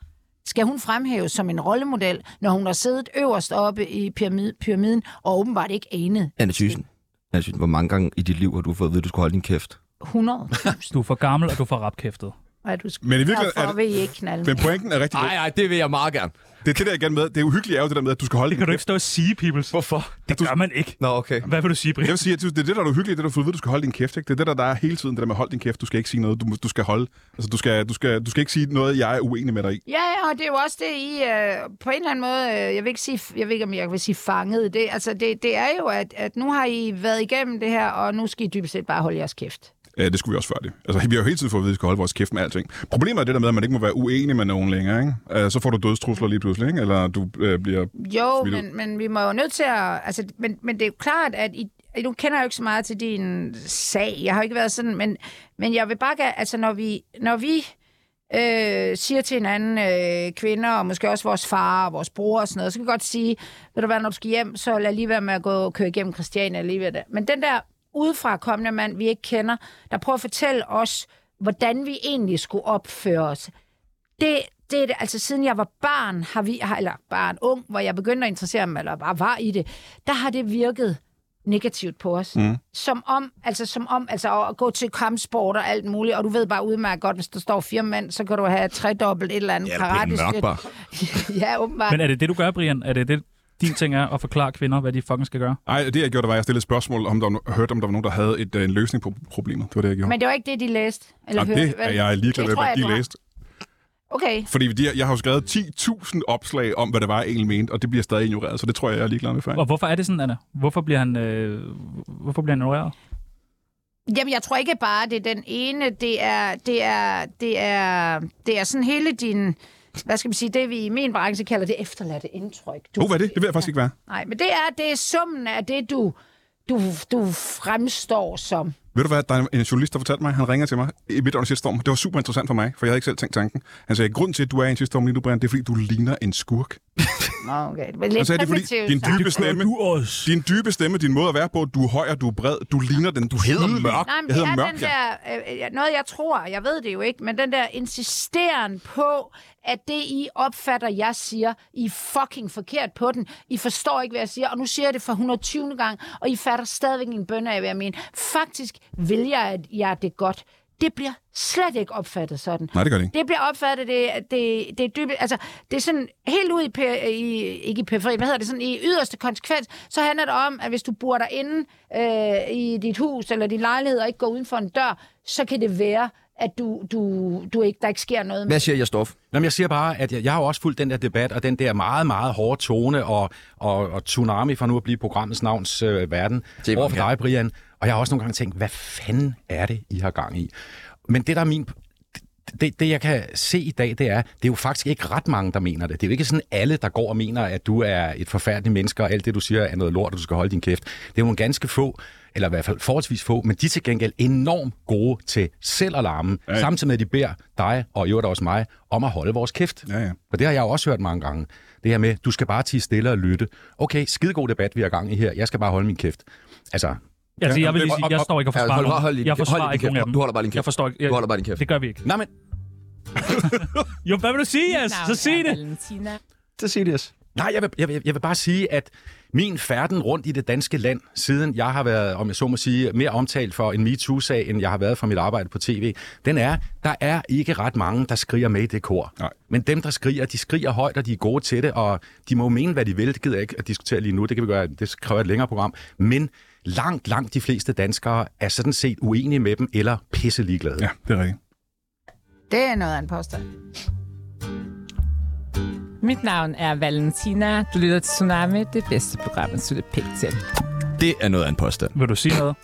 Speaker 4: skal hun fremhæves som en rollemodel, når hun har siddet øverst oppe i pyramid, pyramiden og åbenbart ikke anet
Speaker 1: Anne Thyssen. Anne Thyssen, hvor mange gange i dit liv har du fået at vide, at du skulle holde din kæft?
Speaker 4: 100.
Speaker 2: Du er for gammel, og du får rapkæftet.
Speaker 4: Ej, du skal...
Speaker 3: Men i virkeligheden er
Speaker 4: Derfor
Speaker 3: det-
Speaker 4: vil I ikke knalde
Speaker 3: Men pointen er rigtig god.
Speaker 1: nej, det vil jeg meget gerne.
Speaker 3: Det er det, der igen med. Det uhyggelige er jo det der med, at du skal holde
Speaker 2: Det kan
Speaker 3: din
Speaker 2: du ikke stå og sige, peoples.
Speaker 1: Hvorfor?
Speaker 2: Det gør man ikke.
Speaker 1: Nå, okay.
Speaker 2: Hvad vil du sige,
Speaker 3: Jeg
Speaker 2: Brian?
Speaker 3: vil sige, at det er det, der er uhyggeligt, det der du får at vide, du skal holde din kæft. Ikke? Det er det, der, der er hele tiden, det der med, hold din kæft, du skal ikke sige noget, du, må- du skal holde. Altså, du skal, du, skal, du skal ikke sige noget, jeg er uenig med dig i.
Speaker 4: Ja, ja, og det er jo også det, I øh, på en eller anden måde, øh, jeg vil ikke sige, jeg ved ikke, om jeg vil sige fanget. Det, altså, det, det er jo, at, at nu har I været igennem det her, og nu skal I dybest set bare holde jeres kæft.
Speaker 3: Ja, det skulle vi også før det. Altså, vi har jo hele tiden fået at vide, at vi skal holde vores kæft med alting. Problemet er det der med, at man ikke må være uenig med nogen længere. Ikke? Øh, Så får du dødstrusler lige pludselig, ikke? eller du øh, bliver...
Speaker 4: Jo,
Speaker 3: Smidt ud.
Speaker 4: men, men vi må jo nødt til at... Altså, men, men det er jo klart, at I, nu kender jeg jo ikke så meget til din sag. Jeg har jo ikke været sådan, men, men jeg vil bare gerne... Altså, når vi, når vi øh, siger til hinanden, øh, kvinder, og måske også vores far og vores bror og sådan noget, så kan vi godt sige, ved du hvad, når du skal hjem, så lad lige være med at gå og køre igennem Christiania lige ved det. Men den der udefra kommende mand, vi ikke kender, der prøver at fortælle os, hvordan vi egentlig skulle opføre os det, det er det, altså siden jeg var barn, har vi, har- eller barn ung, hvor jeg begyndte at interessere mig, eller bare var i det, der har det virket negativt på os. Mm. Som om, altså som om, altså at gå til kampsport og alt muligt, og du ved bare udmærket godt, hvis der står fire mænd, så kan du have tredobbelt et eller andet
Speaker 1: Ja, der bliver den
Speaker 4: karate.
Speaker 1: mørk bare.
Speaker 4: ja, åbenbart.
Speaker 2: Men øh, er det det, du gør, Brian? Er det det, din ting er at forklare kvinder, hvad de fucking skal gøre?
Speaker 3: Nej, det jeg gjorde, det var, at jeg stillede et spørgsmål, om der, var no- hørte, om der var nogen, der havde et, øh, en løsning på problemet. Det var det, jeg gjorde.
Speaker 4: Men det var ikke det, de læste. Eller
Speaker 3: Jamen,
Speaker 4: hørte,
Speaker 3: det er
Speaker 4: vel?
Speaker 3: jeg ligeglad
Speaker 4: Det
Speaker 3: med,
Speaker 4: tror
Speaker 3: hvad
Speaker 4: jeg, du
Speaker 3: de
Speaker 4: har.
Speaker 3: læste.
Speaker 4: Okay.
Speaker 3: Fordi de, jeg har jo skrevet 10.000 opslag om, hvad det var, jeg egentlig mente, og det bliver stadig ignoreret, så det tror jeg, jeg er ligeglad med. Faktisk.
Speaker 2: Og hvorfor er det sådan, Anna? Hvorfor bliver han, øh, hvorfor bliver han ignoreret?
Speaker 4: Jamen, jeg tror ikke bare, det er den ene. Det er, det er, det er, det er sådan hele din... Hvad skal man sige? Det, vi i min branche kalder det efterladte indtryk. Du,
Speaker 3: Oh, hvad er det? Det vil jeg faktisk ikke være.
Speaker 4: Nej, men det er, det er summen af det, du, du, du fremstår som.
Speaker 3: Ved du hvad, der er en journalist, der fortalte mig, han ringer til mig i midt under sidste storm. Det var super interessant for mig, for jeg havde ikke selv tænkt tanken. Han sagde, grund til, at du er i en sidste storm lige nu, Brian, det er fordi, du ligner en skurk.
Speaker 4: Nå, okay. Det var
Speaker 3: Han
Speaker 4: lidt
Speaker 3: sagde, det er fordi,
Speaker 4: primitivt
Speaker 3: din
Speaker 4: sagt.
Speaker 3: dybe stemme,
Speaker 2: også.
Speaker 3: din dybe stemme, din måde at være på, du er høj og du er bred, du ligner den, du hedder mørk.
Speaker 4: Nej,
Speaker 3: jeg
Speaker 4: men det
Speaker 3: hedder
Speaker 4: er
Speaker 3: mørk,
Speaker 4: den
Speaker 3: ja.
Speaker 4: der, øh, øh, noget jeg tror, jeg ved det jo ikke, men den der insisteren på, at det I opfatter, jeg siger, I er fucking forkert på den. I forstår ikke, hvad jeg siger, og nu siger jeg det for 120. gang, og I fatter stadigvæk en bønne af, hvad jeg mener. Faktisk vil jeg, at jeg er det godt. Det bliver slet ikke opfattet sådan.
Speaker 3: Nej, det gør det ikke.
Speaker 4: Det bliver opfattet, det, det, det er dybt, altså, det er sådan helt ud i, per, i, ikke i periferi, hvad hedder det, sådan i yderste konsekvens, så handler det om, at hvis du bor derinde øh, i dit hus eller din lejlighed og ikke går uden for en dør, så kan det være, at du, du, du ikke, der ikke sker noget.
Speaker 1: Hvad siger jeg, Stof?
Speaker 5: Nå, men jeg siger bare, at jeg, jeg har jo også fulgt den der debat, og den der meget, meget hårde tone og, og, og tsunami fra nu at blive programmets navns øh, verden
Speaker 1: Det er
Speaker 5: over for
Speaker 1: man
Speaker 5: dig, Brian. Og jeg har også nogle gange tænkt, hvad fanden er det, I har gang i? Men det, der er min... Det, det, jeg kan se i dag, det er, det er jo faktisk ikke ret mange, der mener det. Det er jo ikke sådan alle, der går og mener, at du er et forfærdeligt menneske, og alt det, du siger, er noget lort, og du skal holde din kæft. Det er jo nogle ganske få, eller i hvert fald forholdsvis få, men de er til gengæld enormt gode til selv at larme, ja. samtidig med, at de beder dig, og i øvrigt også mig, om at holde vores kæft.
Speaker 3: Ja, ja.
Speaker 5: For det har jeg jo også hørt mange gange. Det her med, du skal bare tige stille og lytte. Okay, skidegod debat, vi har gang i her. Jeg skal bare holde min kæft. Altså,
Speaker 2: Altså,
Speaker 3: Ja,
Speaker 2: jeg vil
Speaker 3: men-
Speaker 2: lige sige, jeg står ikke og
Speaker 1: Ja,
Speaker 2: forsvarer
Speaker 1: hold-
Speaker 2: nogen.
Speaker 1: hold lige-
Speaker 2: jeg forsvarer
Speaker 1: hold lige
Speaker 2: ikke
Speaker 1: din
Speaker 2: nogen af
Speaker 1: kæft.
Speaker 2: dem.
Speaker 1: Du holder bare din kæft.
Speaker 2: Jeg forstår ikke. Jeg,
Speaker 1: Du holder bare din kæft.
Speaker 2: Det gør vi ikke.
Speaker 5: nej, men
Speaker 2: Jo, hvad vil du sige, Jas? Så sig det.
Speaker 1: Det siger det, yes.
Speaker 5: Nej, jeg vil, jeg, vil, jeg vil bare sige, at min færden rundt i det danske land, siden jeg har været, om jeg så må sige, mere omtalt for en MeToo-sag, end jeg har været for mit arbejde på tv, den er, der er ikke ret mange, der skriger med i det kor.
Speaker 3: Nej.
Speaker 5: Men dem, der skriger, de skriger højt, og de er gode til det, og de må jo mene, hvad de vil. Det gider jeg ikke at diskutere lige nu, det kan vi gøre, det kræver et længere program. Men langt, langt de fleste danskere er sådan set uenige med dem, eller pisse ligeglade.
Speaker 3: Ja, det er rigtigt.
Speaker 4: Det er noget af en påstand.
Speaker 9: Mit navn er Valentina. Du lytter til Tsunami, det bedste program, at slutte pænt til.
Speaker 1: Det er noget af en påstand.
Speaker 2: Vil du sige noget?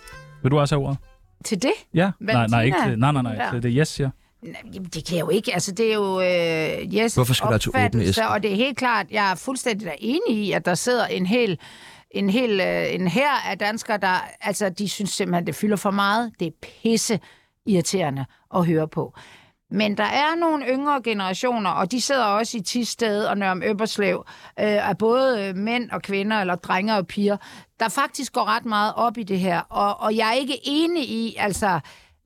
Speaker 2: Vil du også have ordet?
Speaker 4: Til det?
Speaker 2: Ja. Nej,
Speaker 4: Valentina?
Speaker 2: nej, ikke til, nej, nej, nej,
Speaker 4: Ja.
Speaker 2: til det yes, ja.
Speaker 4: Nej, Jamen, det kan jeg jo ikke. Altså, det er jo øh, yes,
Speaker 1: Hvorfor skal der til åbne æsker?
Speaker 4: Og det er helt klart, jeg er fuldstændig da enig i, at der sidder en hel en hel øh, en her af danskere, der, altså, de synes simpelthen, det fylder for meget. Det er pisse irriterende at høre på. Men der er nogle yngre generationer, og de sidder også i Tisted og Nørrem Øpperslev, øh, af både øh, mænd og kvinder, eller drenge og piger, der faktisk går ret meget op i det her. Og, og jeg er ikke enig i, altså,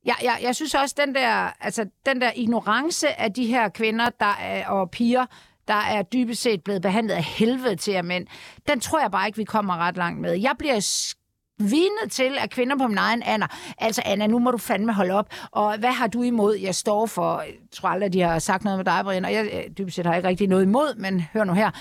Speaker 4: jeg, jeg, jeg synes også, den der, altså, den der ignorance af de her kvinder der er, og piger, der er dybest set blevet behandlet af helvede til af mænd, den tror jeg bare ikke, vi kommer ret langt med. Jeg bliver vinet til, at kvinder på min egen Anna. Altså, Anna, nu må du fandme holde op. Og hvad har du imod, jeg står for? Jeg tror aldrig, de har sagt noget med dig, Brian. Og jeg øh, dybest set har ikke rigtig noget imod, men hør nu her.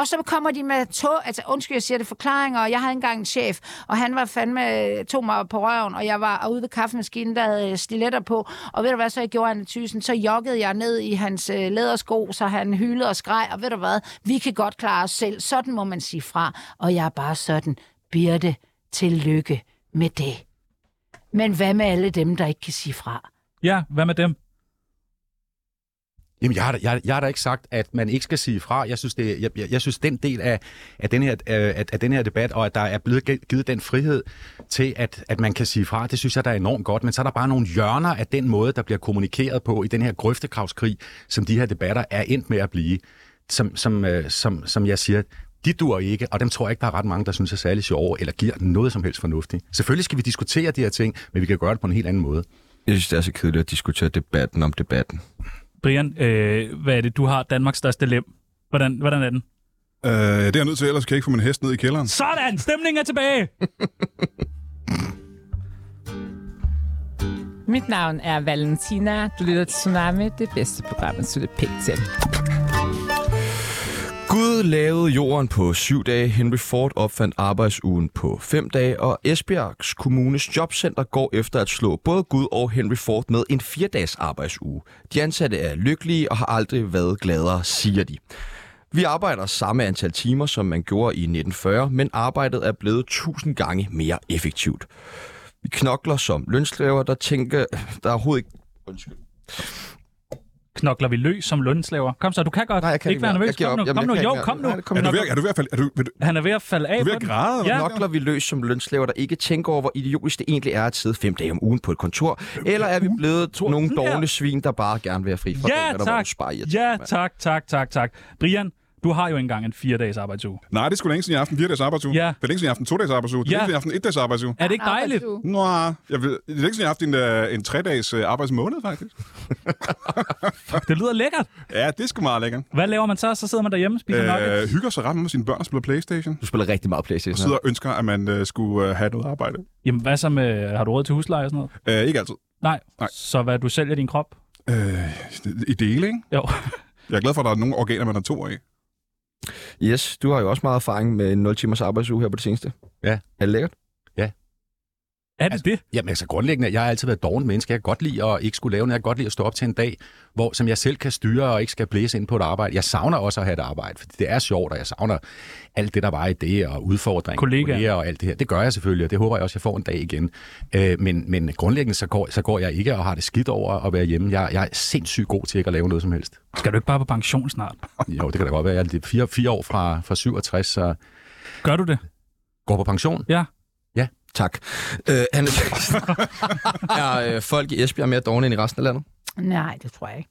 Speaker 4: Og så kommer de med tog, altså undskyld, jeg siger det, forklaringer. Og jeg havde engang en chef, og han var fandme, øh, tog mig på røven, og jeg var ude ved kaffemaskinen, der havde øh, stiletter på. Og ved du hvad, så jeg gjorde han i tysen, så joggede jeg ned i hans øh, lædersko, så han hylede og skreg, og ved du hvad, vi kan godt klare os selv. Sådan må man sige fra. Og jeg er bare sådan, Birte, Tillykke med det. Men hvad med alle dem, der ikke kan sige fra?
Speaker 2: Ja, hvad med dem?
Speaker 5: Jamen, jeg har, da- jeg, har- jeg har da ikke sagt, at man ikke skal sige fra. Jeg synes, det, jeg, jeg, jeg synes den del af, af, den her, øh, af, af den her debat, og at der er blevet ge- givet den frihed til, at, at man kan sige fra, det synes jeg, der er enormt godt. Men så er der bare nogle hjørner af den måde, der bliver kommunikeret på i den her grøftekravskrig, som de her debatter er endt med at blive. Som, som, øh, som, som jeg siger, de dur ikke, og dem tror jeg ikke, der er ret mange, der synes er særlig sjove, eller giver noget som helst fornuftigt. Selvfølgelig skal vi diskutere de her ting, men vi kan gøre det på en helt anden måde.
Speaker 1: Jeg synes, det er så kedeligt at diskutere debatten om debatten.
Speaker 2: Brian, øh, hvad er det, du har Danmarks største lem? Hvordan, hvordan er den?
Speaker 3: Øh, det er jeg nødt til, ellers kan jeg ikke få min hest ned i kælderen.
Speaker 2: Sådan! Stemningen er tilbage!
Speaker 9: Mit navn er Valentina. Du lytter til Tsunami, det bedste program, at slutte pænt til.
Speaker 1: Gud lavede jorden på syv dage, Henry Ford opfandt arbejdsugen på fem dage, og Esbjergs Kommunes Jobcenter går efter at slå både Gud og Henry Ford med en fire-dages arbejdsuge. De ansatte er lykkelige og har aldrig været gladere, siger de. Vi arbejder samme antal timer, som man gjorde i 1940, men arbejdet er blevet tusind gange mere effektivt. Vi knokler som lønslaver, der tænker, der er overhovedet ikke... Undskyld.
Speaker 2: Knokler vi løs som lønslaver? Kom så, du kan godt.
Speaker 1: Nej, jeg kan
Speaker 2: ikke
Speaker 1: ikke
Speaker 2: være
Speaker 1: mere.
Speaker 2: nervøs.
Speaker 1: Jeg giver
Speaker 2: Kom
Speaker 1: op.
Speaker 2: nu,
Speaker 1: Jamen, jeg
Speaker 2: kom nu.
Speaker 1: kan
Speaker 2: jo,
Speaker 1: ikke mere.
Speaker 2: kom nu.
Speaker 1: Nej, det kommer
Speaker 3: Er du
Speaker 2: Knokler-
Speaker 3: ved, er du ved at falde... Er du, vil du,
Speaker 2: Han er ved at falde af
Speaker 3: er du ved
Speaker 2: på
Speaker 3: at
Speaker 2: den.
Speaker 3: græde? eller
Speaker 2: Ja.
Speaker 3: hvad?
Speaker 1: Knokler vi løs som lønslaver, der ikke tænker over, hvor idiotisk det egentlig er at sidde fem dage om ugen på et kontor? Eller er vi blevet nogle
Speaker 2: Ja.
Speaker 1: dovne svin, der bare gerne vil have fri fra
Speaker 2: Ja,
Speaker 1: det, der
Speaker 2: tak.
Speaker 1: spare
Speaker 2: Ja, tak, tak, tak, tak. Brian, du har jo engang en fire-dages arbejdsuge.
Speaker 3: Nej, det er sgu længe siden i aften. Fire dages arbejdsuge.
Speaker 2: Ja.
Speaker 3: Det er længe siden i aften. To dages arbejdsuge. Det er
Speaker 2: Ja.
Speaker 3: længe siden i aften. Et dages arbejdsuge.
Speaker 2: Er det ikke dejligt?
Speaker 3: Nå, jeg ved, det er længe siden, jeg har haft en, øh, en tre-dages øh, arbejdsmåned, faktisk.
Speaker 2: Det lyder lækkert.
Speaker 3: Ja, det er sgu meget lækkert.
Speaker 2: Hvad laver man så? Så sidder man derhjemme og spiser øh,
Speaker 3: Øh,
Speaker 2: nuggets.
Speaker 3: hygger sig ret meget med sine børn og spiller Playstation.
Speaker 1: Du spiller rigtig meget
Speaker 3: Og
Speaker 1: Playstation.
Speaker 3: sidder og ønsker, at man øh, skulle øh, have noget arbejde.
Speaker 2: Jamen, hvad så med, har du råd til husleje og sådan noget?
Speaker 3: Øh, ikke altid.
Speaker 2: Nej.
Speaker 3: Nej.
Speaker 2: Så hvad, du sælger din krop?
Speaker 3: Øh, I dele, ikke?
Speaker 2: Jo.
Speaker 3: Jeg er glad for, at der er nogle organer, man har to af.
Speaker 1: Yes, du har jo også meget erfaring med en 0 timers arbejdsuge her på det seneste.
Speaker 5: Ja.
Speaker 1: Er det lækkert?
Speaker 2: Er det det?
Speaker 5: Jamen altså grundlæggende, jeg har altid været dårlig menneske. Jeg kan godt lide at ikke skulle lave noget. Jeg kan godt lide at stå op til en dag, hvor, som jeg selv kan styre og ikke skal blæse ind på et arbejde. Jeg savner også at have et arbejde, fordi det er sjovt, og jeg savner alt det, der var i det, og udfordringer,
Speaker 2: Kollegaer.
Speaker 5: og alt det her. Det gør jeg selvfølgelig, og det håber jeg også, jeg får en dag igen. Øh, men, men grundlæggende, så går, så går jeg ikke og har det skidt over at være hjemme. Jeg, jeg er sindssygt god til ikke at lave noget som helst.
Speaker 2: Skal du ikke bare på pension snart?
Speaker 5: Jo, det kan da godt være. Jeg er lidt- fire, fire år fra, fra 67, så
Speaker 2: Gør du det?
Speaker 5: går på pension.
Speaker 2: Ja.
Speaker 1: Tak. Øh, Anne, er øh, folk i Esbjerg mere dogne end i resten af landet?
Speaker 4: Nej, det tror jeg ikke.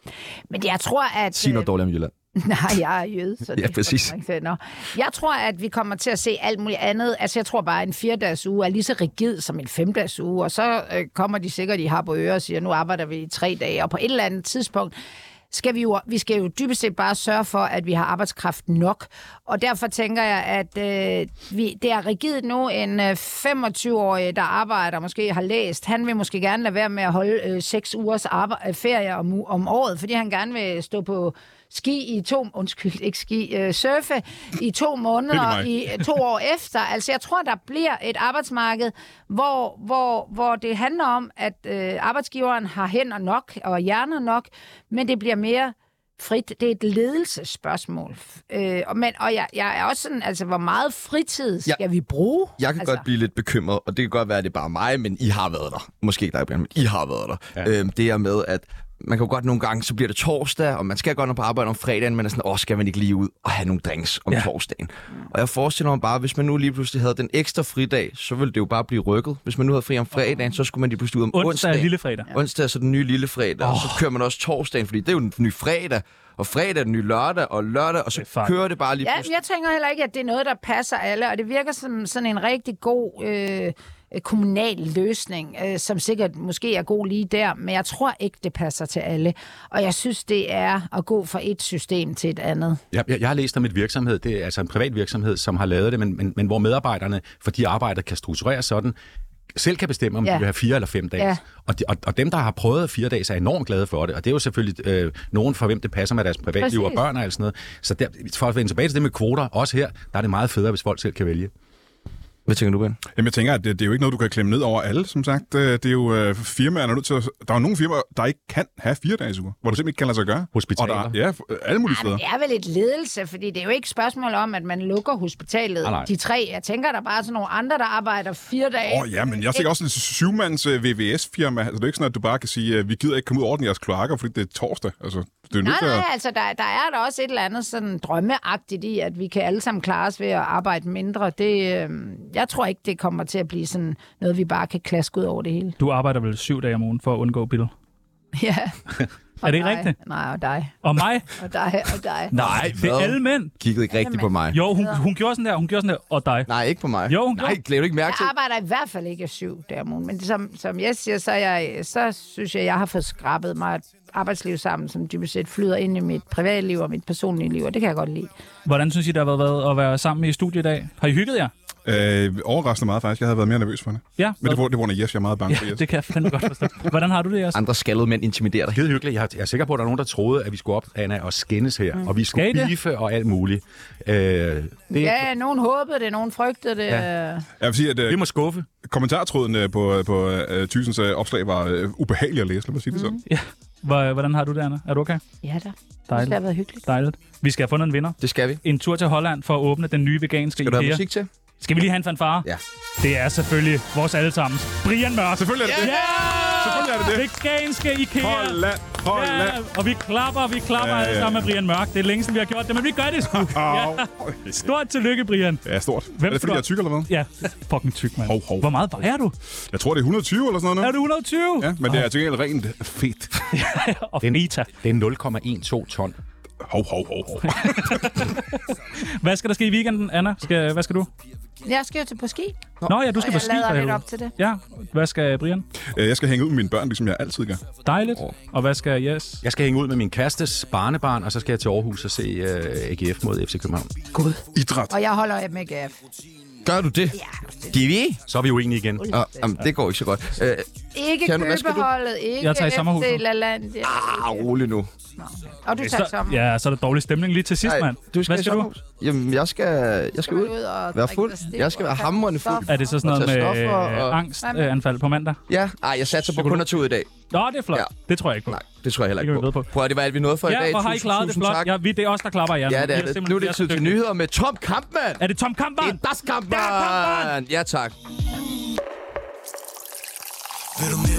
Speaker 4: Men jeg tror, at...
Speaker 1: Sig noget
Speaker 4: øh,
Speaker 1: dårligt om Jylland.
Speaker 4: Nej, jeg er jøde, så
Speaker 1: Ja,
Speaker 4: det er
Speaker 1: præcis.
Speaker 4: godt nok fedt. Nå. Jeg tror, at vi kommer til at se alt muligt andet. Altså, jeg tror bare, at en firedags uge er lige så rigid som en femdags uge, og så øh, kommer de sikkert i har på øre og siger, nu arbejder vi i tre dage, og på et eller andet tidspunkt, skal vi jo, vi skal jo dybest set bare sørge for, at vi har arbejdskraft nok. Og derfor tænker jeg, at øh, vi, det er rigidt nu. En øh, 25-årig, der arbejder, måske har læst, han vil måske gerne lade være med at holde øh, 6 ugers arbej- øh, ferie om, u- om året, fordi han gerne vil stå på ski i to, undskyld, ikke ski, øh, surfe i to måneder
Speaker 3: mig.
Speaker 4: i øh, to år efter. Altså, jeg tror, der bliver et arbejdsmarked, hvor, hvor, hvor det handler om, at øh, arbejdsgiveren har hænder nok og hjerner nok, men det bliver mere frit. Det er et ledelsesspørgsmål. Øh, og, men, og jeg, jeg er også sådan, altså, hvor meget fritid skal
Speaker 1: Ja.
Speaker 4: vi bruge?
Speaker 1: Jeg kan altså...
Speaker 4: altså,
Speaker 1: godt blive lidt bekymret, og det kan godt være, at det er bare mig, men I har været der. Måske ikke dig, Brian, men I har været der. Ja. Øhm, det er med, at man kan jo godt nogle gange, så bliver det torsdag, og man skal godt nok på arbejde om fredagen, men er sådan, åh, skal man ikke lige ud og have nogle drinks om ja. torsdagen? Og jeg forestiller mig bare, hvis man nu lige pludselig havde den ekstra fridag, så ville det jo bare blive rykket. Hvis man nu havde fri om fredagen, så skulle man lige pludselig ud om
Speaker 2: Onsdag er
Speaker 1: onsdagen.
Speaker 2: lille fredag.
Speaker 1: Ja. Onsdag er så den nye lille fredag, oh. og så kører man også torsdagen, fordi det er jo den nye fredag, og fredag er den nye lørdag, og lørdag, og så
Speaker 2: Det er fuck.
Speaker 1: kører det bare lige
Speaker 4: Ja, men
Speaker 1: pludselig.
Speaker 4: jeg tænker heller ikke, at det er noget, der passer alle, og det virker som sådan en rigtig god øh, øh, kommunal løsning, øh, som sikkert måske er god lige der, men jeg tror ikke, det passer til alle. Og jeg synes, det er at gå fra et system til et andet.
Speaker 5: Jeg, jeg, jeg har læst om et virksomhed, det er altså en privat virksomhed, som har lavet det, men, men, men hvor medarbejderne, fordi arbejdet kan struktureres sådan, selv kan bestemme, om ja.
Speaker 4: Ja.
Speaker 5: de vil have fire eller fem dage. Ja.
Speaker 4: Ja.
Speaker 5: Og, de, og, og dem, der har prøvet fire dage, er enormt glade for det. Og det er jo selvfølgelig øh, nogen, for hvem det passer med deres privatliv og
Speaker 4: Præcis.
Speaker 5: børn og alt sådan noget. Så der, for at vende tilbage til det med kvoter, også her, der er det meget federe, hvis folk selv kan vælge.
Speaker 1: Hvad tænker du, Ben?
Speaker 3: Jamen, jeg tænker, at det, det er jo ikke noget, du kan klemme ned over alle, som sagt. Øh, Det er jo øh, firmaer, der er nødt til at, Der er jo nogle firmaer, der ikke kan have fire dages uger, hvor det simpelthen ikke kan lade sig gøre.
Speaker 5: Hospitaler.
Speaker 3: Og der, er- ja, f- øh, alle mulige steder.
Speaker 4: Det er vel et ledelse, fordi det er jo ikke et spørgsmål om, at man lukker hospitalet.
Speaker 5: Nej, nej.
Speaker 4: De tre, jeg tænker, der er bare sådan nogle andre, der arbejder fire dage.
Speaker 3: Åh oh, ja, men jeg tænker også en syvmands øh, VVS-firma. Altså, det er jo ikke sådan, at du bare kan sige, at vi gider ikke komme ud over den jeres kloakker, fordi det er torsdag. Altså, det er jo
Speaker 4: Nej,
Speaker 3: nødt til
Speaker 4: nej,
Speaker 3: at...
Speaker 4: altså der, der er der også et eller andet sådan drømmeagtigt i, at vi kan alle sammen klare os ved at arbejde mindre. Det, øh, jeg tror ikke, det kommer til at blive sådan noget, vi bare kan klaske ud over det hele.
Speaker 2: Du arbejder vel syv dage om ugen for at undgå bill.
Speaker 4: Ja.
Speaker 2: Er det ikke
Speaker 4: dig.
Speaker 2: rigtigt?
Speaker 4: Nej, og dig,
Speaker 2: Og mig?
Speaker 4: og dig, og dig.
Speaker 1: Nej,
Speaker 2: Det er
Speaker 1: hvad?
Speaker 2: alle mænd.
Speaker 1: Kiggede ikke rigtigt på mig.
Speaker 2: Jo, hun, hun gjorde sådan der, hun gjorde sådan der, og dig.
Speaker 1: Nej, ikke på mig.
Speaker 2: Jo,
Speaker 1: Nej,
Speaker 2: jo.
Speaker 1: glæder du ikke mærke til?
Speaker 4: Jeg arbejder i hvert fald ikke syv dage om ugen, men som, som jeg siger, så, er jeg, så synes jeg, jeg har fået skrabet mig et arbejdsliv sammen, som dybest set flyder ind i mit privatliv og mit personlige liv, og det kan jeg godt lide.
Speaker 2: Hvordan synes I, der har været at være sammen i studiet i dag? Har I hygget jer?
Speaker 3: Øh, overraskende meget, faktisk. Jeg havde været mere nervøs for det.
Speaker 2: Ja,
Speaker 3: Men det, var- det var under Jes, jeg er meget bange for
Speaker 2: ja
Speaker 3: Jes.
Speaker 2: det kan jeg fandme godt forstå. Hvordan har du det, Jes?
Speaker 1: Andre skaldede mænd intimiderer dig.
Speaker 5: Skide hyggeligt. Jeg, har- jeg er sikker på, at der er nogen, der troede, at vi skulle op, Anna, og skændes her. Mm. Og vi
Speaker 2: Skal I
Speaker 5: skulle
Speaker 2: det?
Speaker 5: bife og alt muligt. Øh, det, ja.
Speaker 4: Ja, nogen håbede det, nogen frygtede det. Ja.
Speaker 3: Jeg vil sige, at
Speaker 5: Vi
Speaker 3: øh,
Speaker 5: må skuffe.
Speaker 3: kommentartråden øh, på, øh, på øh, Thysens øh, opslag var øh, ubehagelig at læse, lad mig sige det sådan.
Speaker 2: Hvor- Hvordan har du det, Anna? Er du okay?
Speaker 4: ja da. Det har
Speaker 2: Dejligt.
Speaker 4: været hyggeligt.
Speaker 2: Dejligt. Vi skal have fundet en vinder.
Speaker 1: Det skal vi.
Speaker 2: En tur til Holland for at åbne den nye veganske
Speaker 1: Skal du have
Speaker 2: IKEA.
Speaker 1: musik til?
Speaker 2: Skal vi lige have en fanfare?
Speaker 1: Ja.
Speaker 2: Det er selvfølgelig vores allesammens. Brian Mørk.
Speaker 3: Selvfølgelig er det
Speaker 2: Ja!
Speaker 3: Selvfølgelig er det det.
Speaker 2: Veganske IKEA.
Speaker 3: Holland,
Speaker 2: Ja,
Speaker 3: Holland.
Speaker 2: og vi klapper, vi klapper
Speaker 3: Ja,
Speaker 2: ja,
Speaker 3: ja,
Speaker 2: alle sammen med Brian Mørk. Det er længe siden, vi har gjort det, men vi gør det sgu.
Speaker 3: Au.
Speaker 2: Stort tillykke, Brian.
Speaker 3: Ja, stort. Hvem er det,
Speaker 2: skal
Speaker 3: fordi
Speaker 2: du-
Speaker 3: jeg er tyk eller hvad?
Speaker 2: Ja, fucking tyk, mand.
Speaker 3: Hov, hov.
Speaker 2: Hvor meget vejer du?
Speaker 3: Jeg tror, det er 120 eller sådan noget.
Speaker 2: Er
Speaker 3: nu.
Speaker 2: du 120?
Speaker 3: Ja, men det er til gengæld rent fedt.
Speaker 2: Og feta.
Speaker 5: Det er 0,12 ton.
Speaker 3: Hov, hov, hov, hov.
Speaker 2: Hvad skal der ske i weekenden, Anna? Skal, hvad skal du?
Speaker 4: Jeg skal jo til på ski.
Speaker 2: Nå ja, du skal
Speaker 4: Og
Speaker 2: på
Speaker 4: jeg
Speaker 2: ski.
Speaker 4: lader
Speaker 2: for
Speaker 4: lidt
Speaker 2: helvede.
Speaker 4: op til det.
Speaker 2: Ja, hvad skal Brian?
Speaker 3: Øh, Jeg skal hænge ud med mine børn, ligesom jeg altid gør.
Speaker 2: Dejligt. Og hvad skal Yes?
Speaker 5: Jeg skal hænge ud med min kærestes barnebarn, og så skal jeg til Aarhus og se øh, AGF mod FC København.
Speaker 3: Idræt.
Speaker 4: Og jeg holder af med gaf.
Speaker 1: Gør du det?
Speaker 4: Ja,
Speaker 1: Giv vi?
Speaker 5: Så er vi uenige igen.
Speaker 1: Ah, jamen, det går ikke så godt. Øh,
Speaker 4: ikke
Speaker 1: Kan du- hvad skal du?
Speaker 4: købeholdet, ikke
Speaker 2: Jeg tager i sommerhuset.
Speaker 4: FC Lalandia.
Speaker 1: ah, rolig nu.
Speaker 4: Og du tager i sommer.
Speaker 2: ja, så er der dårlig stemning lige til sidst,
Speaker 1: Ej,
Speaker 2: mand.
Speaker 1: du skal
Speaker 2: hvad
Speaker 1: i
Speaker 2: skal du?
Speaker 1: sommerhus. Jamen, jeg skal, jeg skal
Speaker 4: Skal
Speaker 1: ud.
Speaker 4: man ud og
Speaker 1: Være
Speaker 4: drikke
Speaker 1: fuld.
Speaker 4: sig stiv
Speaker 1: Jeg skal
Speaker 4: og
Speaker 1: være
Speaker 4: tage
Speaker 1: hamrende fuld.
Speaker 4: stoffer?
Speaker 2: Er det så sådan
Speaker 1: Og
Speaker 2: noget
Speaker 1: tage
Speaker 2: med
Speaker 1: stoffer og-
Speaker 2: øh, angstanfald på mandag?
Speaker 1: Ja, ej, jeg satser på kun at tage ud i dag.
Speaker 2: Nå, det er flot.
Speaker 1: Ja.
Speaker 2: Det tror jeg ikke på.
Speaker 1: Nej, det tror jeg heller
Speaker 2: Det kan vi
Speaker 1: ikke
Speaker 2: vide
Speaker 1: på.
Speaker 2: på.
Speaker 1: Prøv at det var alt, vi nåede for i dag.
Speaker 2: Ja, hvor har I
Speaker 1: Tusind,
Speaker 2: klaret det
Speaker 1: tusind
Speaker 2: flot.
Speaker 1: tak.
Speaker 2: Ja, vi, det er os, der klapper jer. nu.
Speaker 1: Ja, det
Speaker 2: I
Speaker 1: er det.
Speaker 2: simpelthen-
Speaker 1: Nu er det
Speaker 2: I
Speaker 1: tid
Speaker 2: så
Speaker 1: til
Speaker 2: dygtige.
Speaker 1: nyheder med Tom Kampmann.
Speaker 2: Er det Tom Kampmann?
Speaker 1: Det er Das
Speaker 2: Der er Kampmann!
Speaker 1: Kampmann. Ja, tak.
Speaker 10: Vil du med